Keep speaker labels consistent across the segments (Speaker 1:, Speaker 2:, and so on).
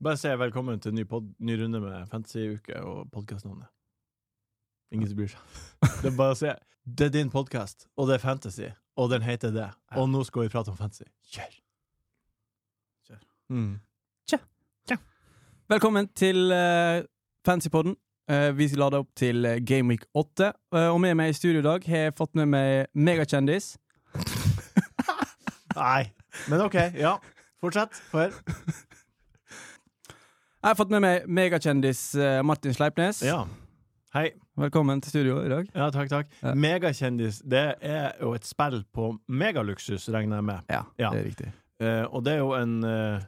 Speaker 1: Bare si velkommen til en ny, pod ny runde med Fantasyuke og podkastnavnet. Ingen som bryr seg. Det er bare å si det er din podkast, og det er fantasy, og den heter det. Og nå skal vi prate om fantasy. Kjør!
Speaker 2: Kjør.
Speaker 1: Mm.
Speaker 2: Velkommen til eh, Fancypodden. Eh, vi lader opp til eh, Game Week 8. eh, og med meg i studio i dag har jeg fått med meg megakjendis.
Speaker 1: Nei. Men OK. Ja. Fortsett. Før.
Speaker 2: Jeg har fått med meg megakjendis eh, Martin Sleipnes.
Speaker 1: Ja. Hei.
Speaker 2: Velkommen til studio i dag.
Speaker 1: Ja, takk, takk.
Speaker 2: Ja.
Speaker 1: Megakjendis, det er jo et spill på megaluksus, regner jeg med.
Speaker 2: Ja,
Speaker 1: Ja.
Speaker 2: det er riktig.
Speaker 1: Eh, og det er jo en, eh,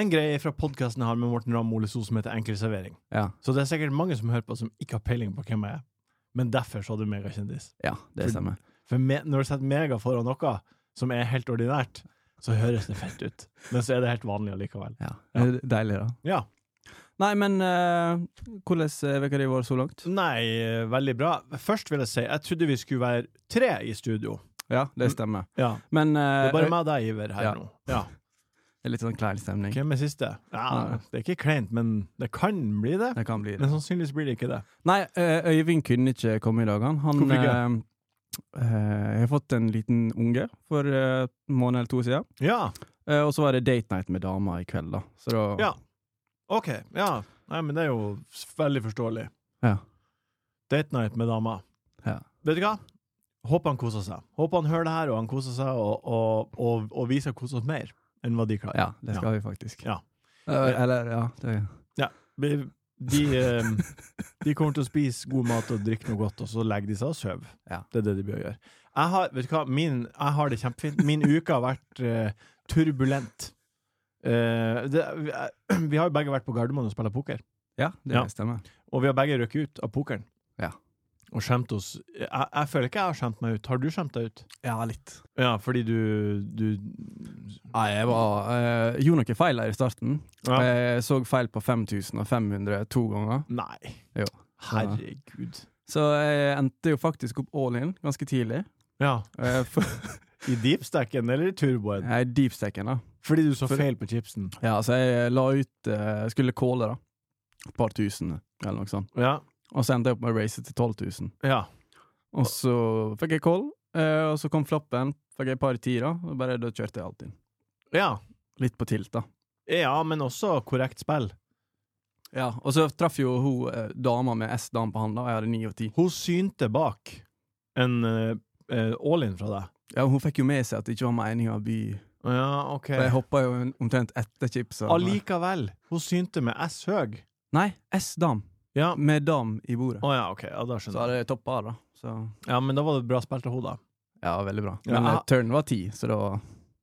Speaker 1: en greie fra podkasten jeg har med Morten Ramm Ole So som heter Enkel servering.
Speaker 2: Ja,
Speaker 1: Så det er sikkert mange som hører på som ikke har peiling på hvem jeg er. Men derfor så er du megakjendis.
Speaker 2: ja det
Speaker 1: For-
Speaker 2: stemmer.
Speaker 1: For me når du setter mega foran noe som er helt ordinært, så høres det fett ut. Men så er det helt vanlig allikevel.
Speaker 2: Ja.
Speaker 1: Ja.
Speaker 2: Det er Deilig, da.
Speaker 1: Ja.
Speaker 2: Nei, men eh, hvordan eh, virker det i vår så langt?
Speaker 1: Nei, veldig bra. Først vil jeg si, jeg trodde vi skulle være tre i studio.
Speaker 2: Ja, det stemmer.
Speaker 1: Ja.
Speaker 2: Men
Speaker 1: Det
Speaker 2: eh,
Speaker 1: er bare meg og deg, Iver, her
Speaker 2: Ja.
Speaker 1: nå. Ja.
Speaker 2: det er litt sånn klein stemning.
Speaker 1: Hvem er siste? Ja,
Speaker 2: Nei.
Speaker 1: det er ikke kleint, men det kan bli det.
Speaker 2: Det kan bli det.
Speaker 1: Men sannsynligvis blir det ikke det.
Speaker 2: Nei, eh, Øyvind kunne ikke komme i dag. Han, han
Speaker 1: Hvorfor ikke?
Speaker 2: eh, eh, Jeg har fått en liten unge for eh, en måned eller to siden.
Speaker 1: Ja.
Speaker 2: Eh, og så var det date night med dama i kveld, da. Så da
Speaker 1: Ja. OK. Ja. Nei, men det er jo s- veldig forståelig.
Speaker 2: Ja.
Speaker 1: Date night med dama.
Speaker 2: Ja.
Speaker 1: Vet du hva? Håper han koser seg. Håper han hører det her, og han koser seg, og, og, og, og vi skal kose oss mer enn hva de klarer.
Speaker 2: Ja, det skal vi faktisk.
Speaker 1: Ja.
Speaker 2: Eh, eller, ja det,
Speaker 1: Vi, de, eh, de kommer til å spise god mat og drikke noe godt, og så legger de seg og sover.
Speaker 2: Ja.
Speaker 1: Det er det de bør gjøre. Jeg har, vet du hva? Min, jeg har det kjempefint. Min uke har vært eh, turbulent. Eh, det, vi, vi har jo begge vært på Gardermoen og spilt poker.
Speaker 2: ja, det
Speaker 1: Ja.
Speaker 2: stemmer.
Speaker 1: Og vi har begge røkket ut av pokeren.
Speaker 2: Ja.
Speaker 1: Og skjemt oss. Jeg, jeg føler ikke jeg har skjemt meg ut. Har du skjemt deg ut?
Speaker 2: Ja, litt.
Speaker 1: Ja, fordi du, du
Speaker 2: Nei, jeg var, eh, gjorde noe feil der i starten. Eh,
Speaker 1: Ja.
Speaker 2: Jeg så feil på 5500 to ganger.
Speaker 1: Nei.
Speaker 2: Jo.
Speaker 1: Herregud.
Speaker 2: Så jeg endte jo faktisk opp all in ganske tidlig.
Speaker 1: Ja.
Speaker 2: Eh, for,
Speaker 1: I deepstacken eller i turboen?
Speaker 2: jeg er deepstaken, da.
Speaker 1: Fordi du så
Speaker 2: For-
Speaker 1: feil på chipsen.
Speaker 2: Ja, så jeg la ut eh, Skulle calle, da. Et par tusen, eller noe sånt.
Speaker 1: Ja.
Speaker 2: Og så endte jeg opp med å race til 12 000.
Speaker 1: ja.
Speaker 2: Og så fikk jeg call, eh, og så kom floppen. Fikk jeg et par tiere, og bare da kjørte jeg alt inn.
Speaker 1: Ja.
Speaker 2: Litt på tilt, da.
Speaker 1: Ja, men også korrekt spill.
Speaker 2: Ja, Og så traff jo hun eh, dama med S-dame på handa, og jeg hadde 9 og 10.
Speaker 1: Hun synte bak en eh, eh, all-in fra deg.
Speaker 2: Ja, og hun fikk jo med seg at det ikke var meninga å by.
Speaker 1: Ja, OK.
Speaker 2: For jeg hoppa jo en- omtrent etter chipsa.
Speaker 1: Allikevel. Hun synte med S høg.
Speaker 2: Nei, S-dam.
Speaker 1: Ja. Å
Speaker 2: Med dam i bordet.
Speaker 1: ja, OK. Ja, da
Speaker 2: Så
Speaker 1: skjønner jeg.
Speaker 2: hadde jeg toppa av, da. Så
Speaker 1: Ja, men da var det bra spill til henne, da.
Speaker 2: ja, veldig bra.
Speaker 1: Ja.
Speaker 2: Men eh, turnen var 10, så da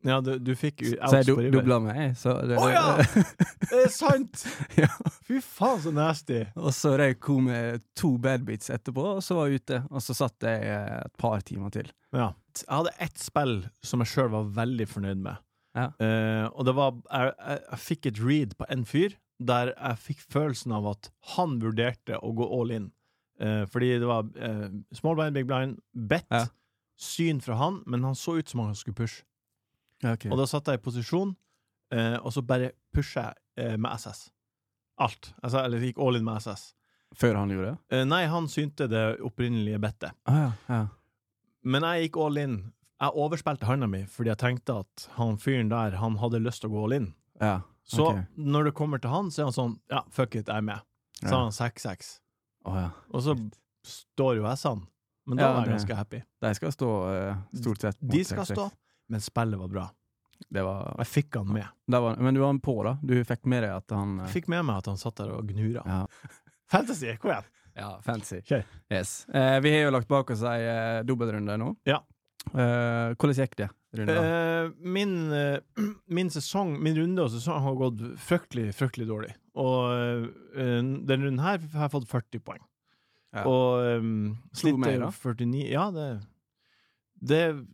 Speaker 1: Ja, du, du fikk u-
Speaker 2: Så jeg
Speaker 1: outs
Speaker 2: du,
Speaker 1: for Iver.
Speaker 2: dubla meg, jeg, så det,
Speaker 1: Å ja! Det er sant!
Speaker 2: Ja.
Speaker 1: Fy faen, så nasty.
Speaker 2: Og så røyk hun med to badbeats etterpå, og så var jeg ute. Og så satt jeg eh, et par timer til.
Speaker 1: Ja. Jeg hadde ett spill som jeg sjøl var veldig fornøyd med.
Speaker 2: Ja.
Speaker 1: Eh, og det var jeg, jeg, jeg fikk et read på en fyr der jeg fikk følelsen av at han vurderte å gå all in. Eh, fordi det var eh, small blind, big blind, bet,
Speaker 2: Ja.
Speaker 1: syn fra han, men han så ut som han skulle pushe. Og da satt jeg i posisjon, eh, og så bare pusha jeg eh, med SS. Alt. Altså, eller gikk all in med SS.
Speaker 2: Før han gjorde det?
Speaker 1: Eh, nei, han synte det opprinnelige bettet.
Speaker 2: Ah, ja, ja.
Speaker 1: Men jeg gikk all in. Jeg overspilte handa mi fordi jeg tenkte at han fyren der, han hadde lyst til å gå all in.
Speaker 2: ja.
Speaker 1: Så
Speaker 2: Ok.
Speaker 1: når det kommer til han, så er han sånn Ja, fuck it, jeg er med. Så
Speaker 2: Ja.
Speaker 1: har han 6-6.
Speaker 2: Å, ja.
Speaker 1: Og så står jo S-ene. Men da
Speaker 2: Ja,
Speaker 1: var jeg
Speaker 2: det-
Speaker 1: ganske happy.
Speaker 2: De skal stå eh, stort sett. mot
Speaker 1: De skal
Speaker 2: 6-6.
Speaker 1: stå, men spillet var bra.
Speaker 2: Det var,
Speaker 1: Jeg fikk han med.
Speaker 2: det var, men du var på, da? Du fikk med deg at han eh,
Speaker 1: Jeg fikk med meg at han satt der og gnura.
Speaker 2: Ja.
Speaker 1: Fantasy, kom igjen!
Speaker 2: Ja, fancy.
Speaker 1: Kjør.
Speaker 2: Yes. Eh, vi har jo lagt bak oss ei eh, dobbeltrunde nå.
Speaker 1: Ja.
Speaker 2: Eh, hvordan gikk det? Runda?
Speaker 1: Eh, min, eh, min sesong, min runde og sesong har gått fryktelig, fryktelig dårlig. Og eh, denne runden her har jeg fått 40 poeng.
Speaker 2: Ja.
Speaker 1: Og um,
Speaker 2: Slo
Speaker 1: snittet
Speaker 2: mer,
Speaker 1: er jo
Speaker 2: da?
Speaker 1: 49 Ja, det, det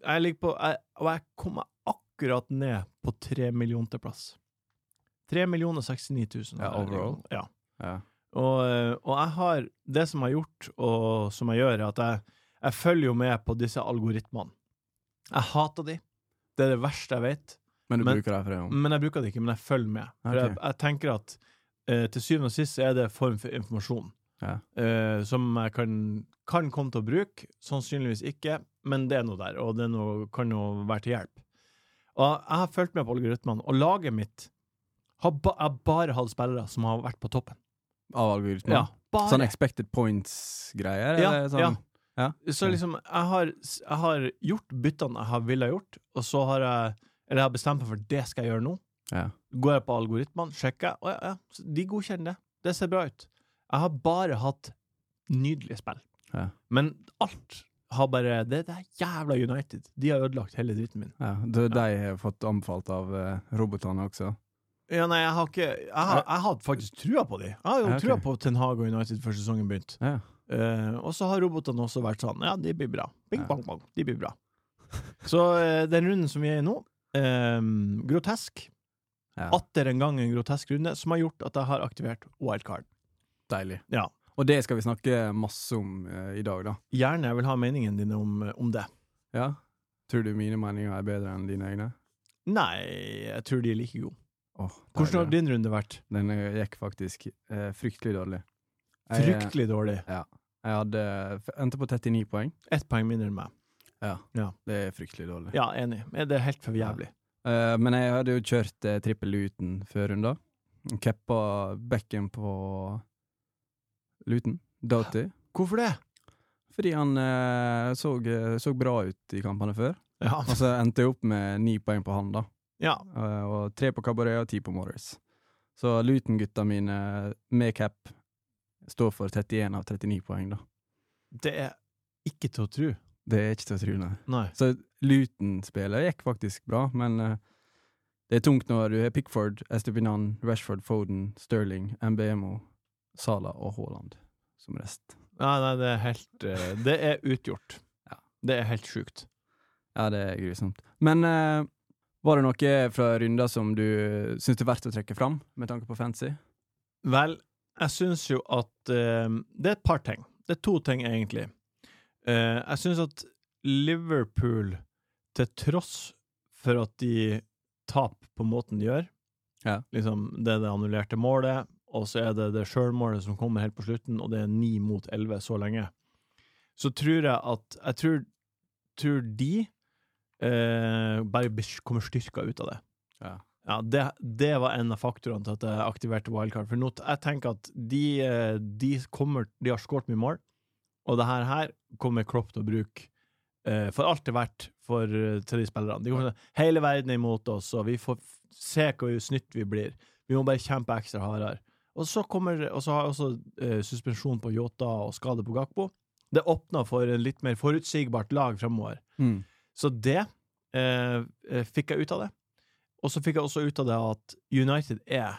Speaker 1: Jeg ligger på jeg, Og jeg kom meg akkurat ned på 3 millioner til plass. 3 millioner 69 000.
Speaker 2: Ja, overall.
Speaker 1: Ja.
Speaker 2: ja.
Speaker 1: Og, eh, og jeg har Det som jeg har gjort, og som jeg gjør, er at jeg, jeg følger jo med på disse algoritmene. Jeg hater de. Det er det verste jeg vet.
Speaker 2: Men du
Speaker 1: Men-
Speaker 2: bruker det for det om.
Speaker 1: Men jeg bruker det ikke, men jeg følger med. For jeg,
Speaker 2: Ok.
Speaker 1: jeg tenker at eh, til syvende og sist så er det en form for informasjon
Speaker 2: Ja.
Speaker 1: eh, som jeg kan, kan komme til å bruke, sannsynligvis ikke, men det er noe der, og det er noe, kan jo være til hjelp. Og jeg har fulgt med på algoritmene, og laget mitt har ba, jeg har bare hatt spillere som har vært på toppen.
Speaker 2: Av algoritmen?
Speaker 1: Ja, bare.
Speaker 2: Sånn expected points-greier?
Speaker 1: Ja,
Speaker 2: eller sånn?
Speaker 1: ja.
Speaker 2: Ja,
Speaker 1: Så liksom, jeg har, jeg har gjort byttene jeg har ville gjort, og så har jeg, eller jeg har bestemt meg for det skal jeg gjøre nå.
Speaker 2: Ja.
Speaker 1: Går jeg på algoritmene, sjekker, og ja, ja, så de godkjenner det. Det ser bra ut. Jeg har bare hatt nydelige spill.
Speaker 2: Ja.
Speaker 1: Men alt har bare, det, det er jævla United. De har ødelagt hele dritten min.
Speaker 2: Ja, det, De har jeg fått anbefalt av eh, robotene også.
Speaker 1: Ja, nei, jeg har ikke, jeg har, jeg har faktisk trua på de. Jeg har jo
Speaker 2: Ja, ok.
Speaker 1: trua på Ten Hag og United før sesongen begynte.
Speaker 2: Ja.
Speaker 1: Eh, og så har robotene også vært sånn Ja, de blir bra. Bing,
Speaker 2: Ja.
Speaker 1: bang, bang. De blir bra. Så eh, den runden som vi er i nå, eh, grotesk.
Speaker 2: Ja.
Speaker 1: Atter en gang en grotesk runde som har gjort at jeg har aktivert wildcard.
Speaker 2: Deilig.
Speaker 1: Ja.
Speaker 2: Og det skal vi snakke masse om eh, i dag, da.
Speaker 1: Gjerne jeg vil ha meningen din om, eh, om det.
Speaker 2: Ja. Tror du mine meninger er bedre enn dine egne?
Speaker 1: Nei, jeg tror de er like gode.
Speaker 2: Åh,
Speaker 1: Hvordan
Speaker 2: deilig.
Speaker 1: har din runde vært?
Speaker 2: Den eh, gikk faktisk eh, fryktelig dårlig. Jeg, eh,
Speaker 1: Fryktelig dårlig.
Speaker 2: jeg hadde f- endte på 39 poeng.
Speaker 1: Ett poeng mindre enn meg.
Speaker 2: Ja.
Speaker 1: Ja.
Speaker 2: Det er fryktelig dårlig.
Speaker 1: Ja, enig. Det er helt for jævlig.
Speaker 2: Eh, men jeg hadde jo kjørt eh, trippel Luton før runda. Keppa bekken på Luton. Doughty.
Speaker 1: Hvorfor det?
Speaker 2: Fordi han eh, så, så bra ut i kampene før.
Speaker 1: Ja.
Speaker 2: Og så endte jeg opp med ni poeng på han, da.
Speaker 1: ja.
Speaker 2: Eh, og tre på Cabaret og ti på Morris. Så Luton-gutta mine med cap står for 31 av 39 poeng, da.
Speaker 1: Det er ikke til å tro.
Speaker 2: Det er ikke til å tro, nei.
Speaker 1: Nei.
Speaker 2: Så Luton-spillet gikk faktisk bra, men eh, det er tungt når du har Pickford, Estepinan, Rashford, Foden, Sterling, MBMO, Sala og Haaland som rest.
Speaker 1: Nei, nei, det er helt eh, Det er utgjort.
Speaker 2: Ja.
Speaker 1: Det er helt sjukt.
Speaker 2: Ja, det er grusomt. Men eh, var det noe fra runder som du syns det er verdt å trekke fram, med tanke på fancy?
Speaker 1: Vel, jeg syns jo at eh, Det er et par ting. Det er to ting, egentlig. Eh, jeg syns at Liverpool, til tross for at de taper på måten de gjør
Speaker 2: Ja.
Speaker 1: liksom, Det er det annullerte målet, og så er det det sjølmålet som kommer helt på slutten, og det er ni mot elleve så lenge. Så tror jeg at Jeg tror, tror de eh, bare bes- kommer styrka ut av det. Ja, det, det var en av faktorene til at jeg aktiverte wildcard. For nå, t- jeg tenker at de, eh, de, kommer, de har skåret mye mål, og det her, her kommer Klopp til å bruke eh, for alt det er verdt for, eh, til de spillerne. De kommer til å si, hele verden er imot oss, og vi får f- se hvor snytt vi blir. Vi må bare kjempe ekstra hardere. Og så, kommer, og så har jeg også eh, suspensjon på Yota og skade på Gakpo. Det åpner for en litt mer forutsigbart lag fremover.
Speaker 2: Mm.
Speaker 1: Så det eh, eh, fikk jeg ut av det. Og så fikk jeg også ut av det at United er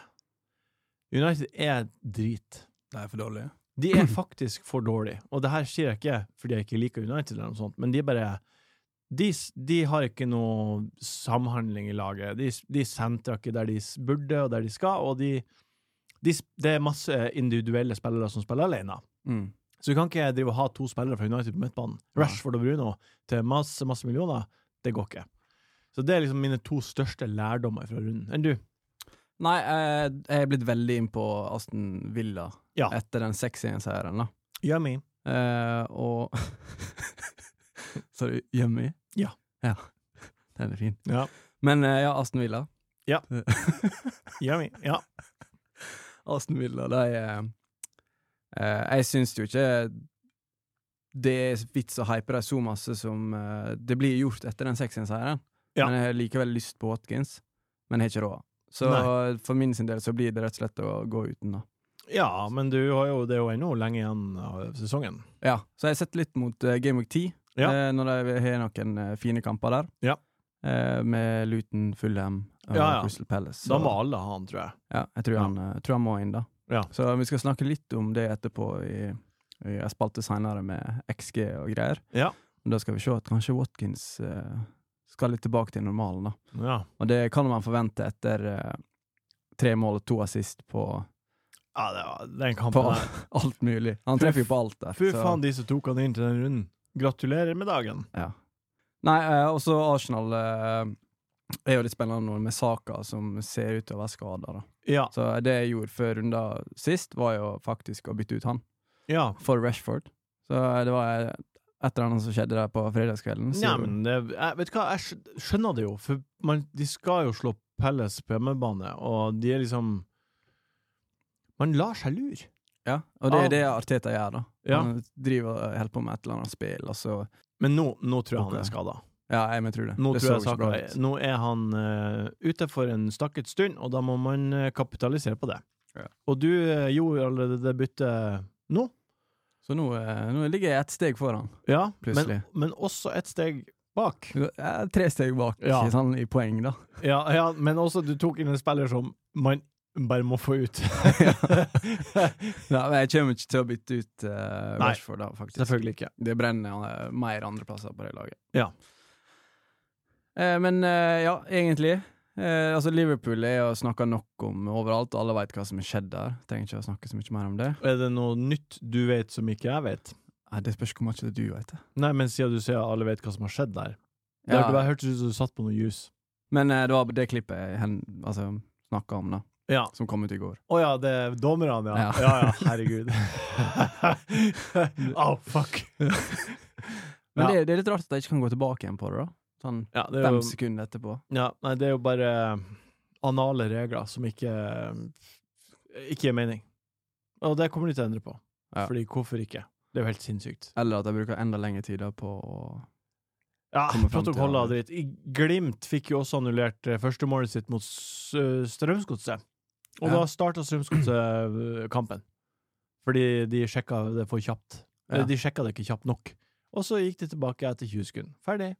Speaker 1: United er drit.
Speaker 2: Det er for dårlig.
Speaker 1: De er faktisk for dårlige. Og det her sier jeg ikke fordi jeg ikke liker United, eller noe sånt, men de bare de, s- de har ikke noe samhandling i laget. De, s- de sentrer ikke der de s- burde, og der de skal, og de, de s- Det er masse individuelle spillere som spiller alene.
Speaker 2: Mm.
Speaker 1: Så du kan ikke drive og ha to spillere fra United på midtbanen. Rashford og Bruno til masse, masse millioner. Det går ikke. Så det er liksom mine to største lærdommer fra runden. Enn du?
Speaker 2: Nei, eh, jeg er blitt veldig inn på Aston Villa
Speaker 1: Ja.
Speaker 2: etter den 6-1-seieren. da.
Speaker 1: Yummy.
Speaker 2: Eh, og Sorry, Yummy?
Speaker 1: Ja.
Speaker 2: ja. Den er fin.
Speaker 1: Ja.
Speaker 2: Men eh, ja, Aston Villa.
Speaker 1: Ja. Yummy. Ja.
Speaker 2: Aston Villa, de eh, eh, Jeg syns jo ikke det er vits å hype dem så masse som eh, det blir gjort etter den 6-1-seieren.
Speaker 1: Ja.
Speaker 2: Men jeg har likevel lyst på Watkins, men jeg har ikke råd. Så for min sin del så blir det rett og slett å gå uten, da.
Speaker 1: ja, men du har jo, det er jo ennå lenge igjen av sesongen.
Speaker 2: Ja, så jeg setter litt mot eh, Game Week 10,
Speaker 1: Ja.
Speaker 2: eh, når de har noen eh, fine kamper der.
Speaker 1: Ja.
Speaker 2: Eh, med Luton, Fulham og
Speaker 1: Ja, ja.
Speaker 2: Crystal Palace.
Speaker 1: Da må alle ha han, tror jeg.
Speaker 2: ja, jeg tror,
Speaker 1: Ja.
Speaker 2: han, eh, tror han må inn, da.
Speaker 1: Ja.
Speaker 2: Så vi skal snakke litt om det etterpå i, i en spalte seinere med XG og greier.
Speaker 1: Ja.
Speaker 2: Men da skal vi se at kanskje Watkins eh, skal litt tilbake til normalen, da.
Speaker 1: Ja,
Speaker 2: Og det kan man forvente etter eh, tre mål og to assist på
Speaker 1: ja det var den
Speaker 2: På-
Speaker 1: kampen der. altså.
Speaker 2: alt mulig. Han
Speaker 1: Fy
Speaker 2: treffer jo
Speaker 1: f-
Speaker 2: på alt der.
Speaker 1: Fy
Speaker 2: så-
Speaker 1: faen, de som tok han inn til den runden. Gratulerer med dagen.
Speaker 2: Ja. Nei, eh, også Arsenal eh, Det er jo litt spennende nå med Saka, som ser ut til å være skada.
Speaker 1: Ja.
Speaker 2: Så eh, det jeg gjorde før runda sist, var jo faktisk å bytte ut han
Speaker 1: ja.
Speaker 2: for Rashford. Så eh, det var et eller annet som skjedde der på fredagskvelden. Så-
Speaker 1: Nei, men det, jeg, vet du hva, jeg skj- skjønner det jo, for man, de skal jo slå Pelles på hjemmebane, og de er liksom Man lar seg lure.
Speaker 2: Ja, og det er
Speaker 1: Ah.
Speaker 2: det Arteta gjør, da.
Speaker 1: Ja.
Speaker 2: Han driver og holder på med et eller annet spill, og så
Speaker 1: Men nå, nå tror jeg
Speaker 2: Ok.
Speaker 1: han er skada.
Speaker 2: Ja, jeg men tror det.
Speaker 1: Nå,
Speaker 2: det
Speaker 1: tror jeg
Speaker 2: så ikke
Speaker 1: Saka
Speaker 2: bra
Speaker 1: er-
Speaker 2: ut.
Speaker 1: nå er han eh, ute for en stakket stund, og da må man eh, kapitalisere på det.
Speaker 2: Ja.
Speaker 1: Og du eh, gjorde allerede det byttet nå.
Speaker 2: Så nå, eh, nå ligger jeg ett steg foran.
Speaker 1: Ja, men,
Speaker 2: Plutselig.
Speaker 1: men også et steg bak.
Speaker 2: Jeg er Tre steg bak
Speaker 1: Ja.
Speaker 2: ikke sant, i poeng, da.
Speaker 1: Ja, ja, men også du tok inn en spiller som man bare må få ut.
Speaker 2: Nei, men jeg kommer ikke til å bytte ut eh,
Speaker 1: Nei.
Speaker 2: Rashford, da, faktisk.
Speaker 1: Selvfølgelig ikke.
Speaker 2: Det brenner eh, mer andreplasser på det laget.
Speaker 1: Ja.
Speaker 2: Eh, men eh, ja, egentlig. Eh, altså Liverpool er jo snakka nok om overalt. Alle veit hva som har skjedd der. Trenger ikke å snakke så mye mer om det.
Speaker 1: Er det noe nytt du vet som ikke jeg vet?
Speaker 2: Nei, det spørs hvor mye du veit.
Speaker 1: Nei, men siden du sier at alle vet hva som har skjedd der. Det
Speaker 2: Ja,
Speaker 1: har bare hørtes ut som du satt på noe jus.
Speaker 2: men eh, det var det klippet jeg hen, altså, snakka om, da.
Speaker 1: Ja.
Speaker 2: Som kom ut i går.
Speaker 1: Å ja, det er dommerne, ja.
Speaker 2: Ja.
Speaker 1: Ja ja, herregud. Au, fuck.
Speaker 2: Men
Speaker 1: Ja.
Speaker 2: det, det er litt rart at jeg ikke kan gå tilbake igjen på det, da. Sånn
Speaker 1: Ja, det er
Speaker 2: fem
Speaker 1: jo,
Speaker 2: sekunder etterpå.
Speaker 1: ja, nei, det er jo bare eh, anale regler som ikke eh, Ikke gir mening. Og det kommer de til å endre på.
Speaker 2: Ja.
Speaker 1: Fordi hvorfor ikke? Det er jo helt sinnssykt.
Speaker 2: Eller at jeg bruker enda lengre tid da på å
Speaker 1: Ja,
Speaker 2: kommer frem til
Speaker 1: protokoller og
Speaker 2: avgjørelse.
Speaker 1: dritt. I Glimt fikk jo også annullert eh, første målet sitt mot S- eh, Strømsgodset. Og
Speaker 2: Ja.
Speaker 1: da starta Strømsgodset eh, kampen. Fordi de sjekka det for kjapt.
Speaker 2: Ja.
Speaker 1: Eller de sjekka det ikke kjapt nok. Og så gikk de tilbake etter 20 sekunder. Ferdig.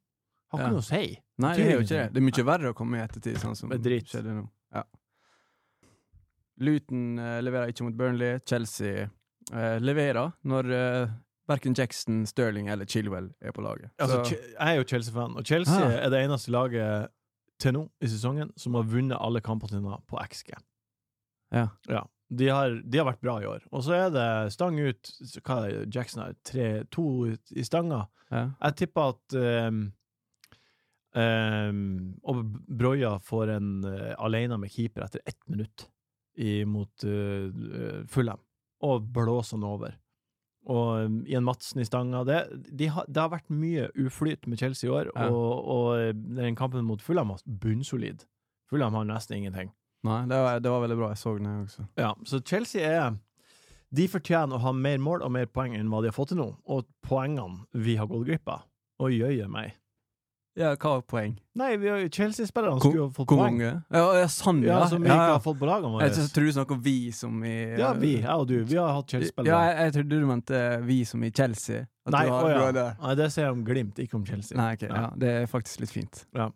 Speaker 1: Har ikke
Speaker 2: Ja.
Speaker 1: noe å si.
Speaker 2: Nei, det er jo ikke det. Det er mye
Speaker 1: Nei.
Speaker 2: verre å komme i ettertid, sånn som
Speaker 1: Det er drit.
Speaker 2: skjedde nå. Ja. Luton eh, leverer ikke mot Burnley. Chelsea eh, leverer når eh, verken Jackson, Sterling eller Chilwell er på laget.
Speaker 1: Altså,
Speaker 2: Så-
Speaker 1: Che- jeg er jo Chelsea-fan, og Chelsea
Speaker 2: Ah.
Speaker 1: er det eneste laget til nå i sesongen som har vunnet alle kampene sine på XG.
Speaker 2: Ja.
Speaker 1: De har, de har vært bra i år. Og så er det stang ut så hva er det, Jackson har tre, to i- i stanga.
Speaker 2: ja.
Speaker 1: Jeg tipper at ehm, ehm, Og Broja får en eh, alene med keeper etter ett minutt i- mot uh, Fulham, og blåser han over. Og um, Ian Madsen i stanga det, de har, det har vært mye uflyt med Chelsea i år,
Speaker 2: Ja.
Speaker 1: og, og eh, den kampen mot Fulham var bunnsolid. Fulham har nesten ingenting.
Speaker 2: Nei, det var, det var veldig bra. Jeg så den, jeg også.
Speaker 1: Ja, så Chelsea er De fortjener å ha mer mål og mer poeng enn hva de har fått til nå, og poengene vi har gått glipp av. Og jøye meg.
Speaker 2: Ja, hva var poeng?
Speaker 1: Nei, vi har jo Chelsea-spillerne
Speaker 2: Ko-
Speaker 1: skulle jo ha fått
Speaker 2: Hvor
Speaker 1: poeng.
Speaker 2: mange? Ja, ja sånn, ja.
Speaker 1: Ja, altså, som vi
Speaker 2: ja,
Speaker 1: ikke
Speaker 2: ja.
Speaker 1: har fått på lagene våre.
Speaker 2: Jeg tror- tror du snakker om vi som i
Speaker 1: Ja, vi, jeg og du, vi har hatt
Speaker 2: Ja,
Speaker 1: Chelsea-spillere.
Speaker 2: jeg, jeg trodde du mente vi som i Chelsea. At
Speaker 1: Nei,
Speaker 2: du har,
Speaker 1: å
Speaker 2: du
Speaker 1: ja.
Speaker 2: har det.
Speaker 1: Nei, det sier jeg om Glimt, ikke om Chelsea.
Speaker 2: Nei, ok,
Speaker 1: Ja.
Speaker 2: ja. Det er faktisk litt fint.
Speaker 1: Ja.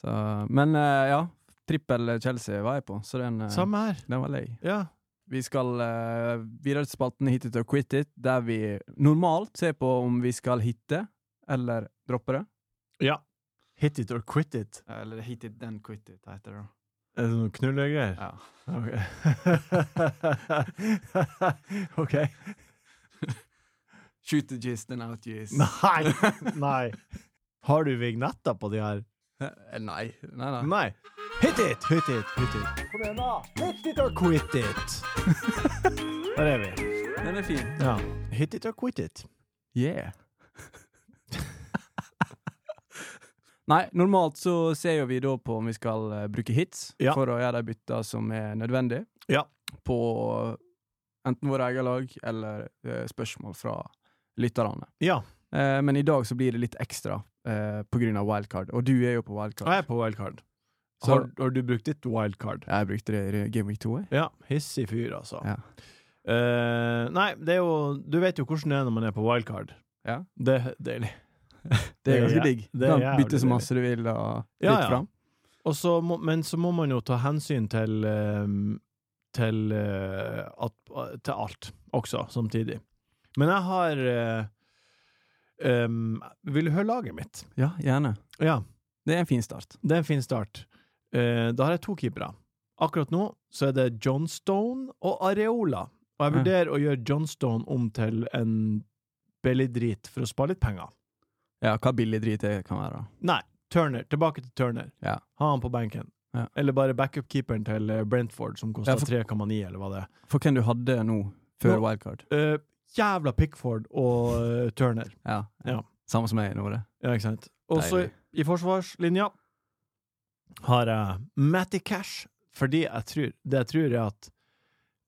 Speaker 2: Så, men eh, ja, trippel Chelsea var jeg på, så den, eh,
Speaker 1: Samme her.
Speaker 2: den var lei.
Speaker 1: Ja.
Speaker 2: Vi skal eh, videre til spalten Hit it or quit it, der vi normalt ser på om vi skal hitte eller droppe det.
Speaker 1: ja. Hit it or quit it.
Speaker 2: Eller hit it then quit it, heter det da.
Speaker 1: Er det noen knullegreier?
Speaker 2: Ja.
Speaker 1: Ok. ok.
Speaker 2: Shoot the gist and out gist.
Speaker 1: Nei! Nei. Har du vignetter på de her?
Speaker 2: Eh, Nei. Nei, nei.
Speaker 1: Nei. Hit it, hit it, hit it. Kom igjen, da. Hit it or quit it. Der er vi.
Speaker 2: Den er fin.
Speaker 1: Ja. Hit it or quit it.
Speaker 2: Yeah. Nei, normalt så ser jo vi da på om vi skal eh, bruke hits
Speaker 1: Ja.
Speaker 2: for å gjøre de bytta som er nødvendig
Speaker 1: Ja.
Speaker 2: på enten våre eget lag eller eh, spørsmål fra lytterne.
Speaker 1: Ja.
Speaker 2: Eh, men i dag så blir det litt ekstra eh, på grunn av wildcard, og du er jo på wildcard.
Speaker 1: Og jeg er på wildcard.
Speaker 2: Så-
Speaker 1: har, har du brukt ditt wildcard?
Speaker 2: Jeg brukte det i Game Week 2. Jeg.
Speaker 1: Ja, hissig fyr, altså.
Speaker 2: Ja.
Speaker 1: Eh, nei, det er jo Du vet jo hvordan det er når man er på wildcard.
Speaker 2: Ja.
Speaker 1: Det er deilig.
Speaker 2: Det er
Speaker 1: Det er
Speaker 2: ganske
Speaker 1: jæv-
Speaker 2: digg. Du
Speaker 1: det er
Speaker 2: kan
Speaker 1: jævlig
Speaker 2: bytte så
Speaker 1: deilig.
Speaker 2: masse du vil og fritt
Speaker 1: Ja, ja.
Speaker 2: fram.
Speaker 1: Og så må, men så må man jo ta hensyn til eh, til, eh, at, til alt også, samtidig. Men jeg har eh, em, Vil du høre laget mitt?
Speaker 2: Ja, gjerne.
Speaker 1: Ja,
Speaker 2: Det er en fin start.
Speaker 1: det er en fin start. Eh, da har jeg to keepere. Akkurat nå så er det Johnstone og Areola. Og jeg
Speaker 2: Ja.
Speaker 1: vurderer å gjøre Johnstone om til en billig drit for å spare litt penger.
Speaker 2: Ja, hva billig drit det kan være.
Speaker 1: Nei, Turner, tilbake til Turner.
Speaker 2: Ja.
Speaker 1: Ha han på benken.
Speaker 2: Ja.
Speaker 1: Eller bare backup-keeperen til eh, Brentford, som koster
Speaker 2: Ja, for-
Speaker 1: 3,9, eller hva det er.
Speaker 2: For hvem du hadde nå, før
Speaker 1: Nå-
Speaker 2: wildcard.
Speaker 1: Eh, jævla Pickford og eh, Turner.
Speaker 2: Ja.
Speaker 1: Ja.
Speaker 2: Samme som jeg nå, det.
Speaker 1: Ja, ikke sant? Og så
Speaker 2: Deilig.
Speaker 1: i forsvarslinja har jeg Matty Cash, fordi jeg tror, det jeg tror er at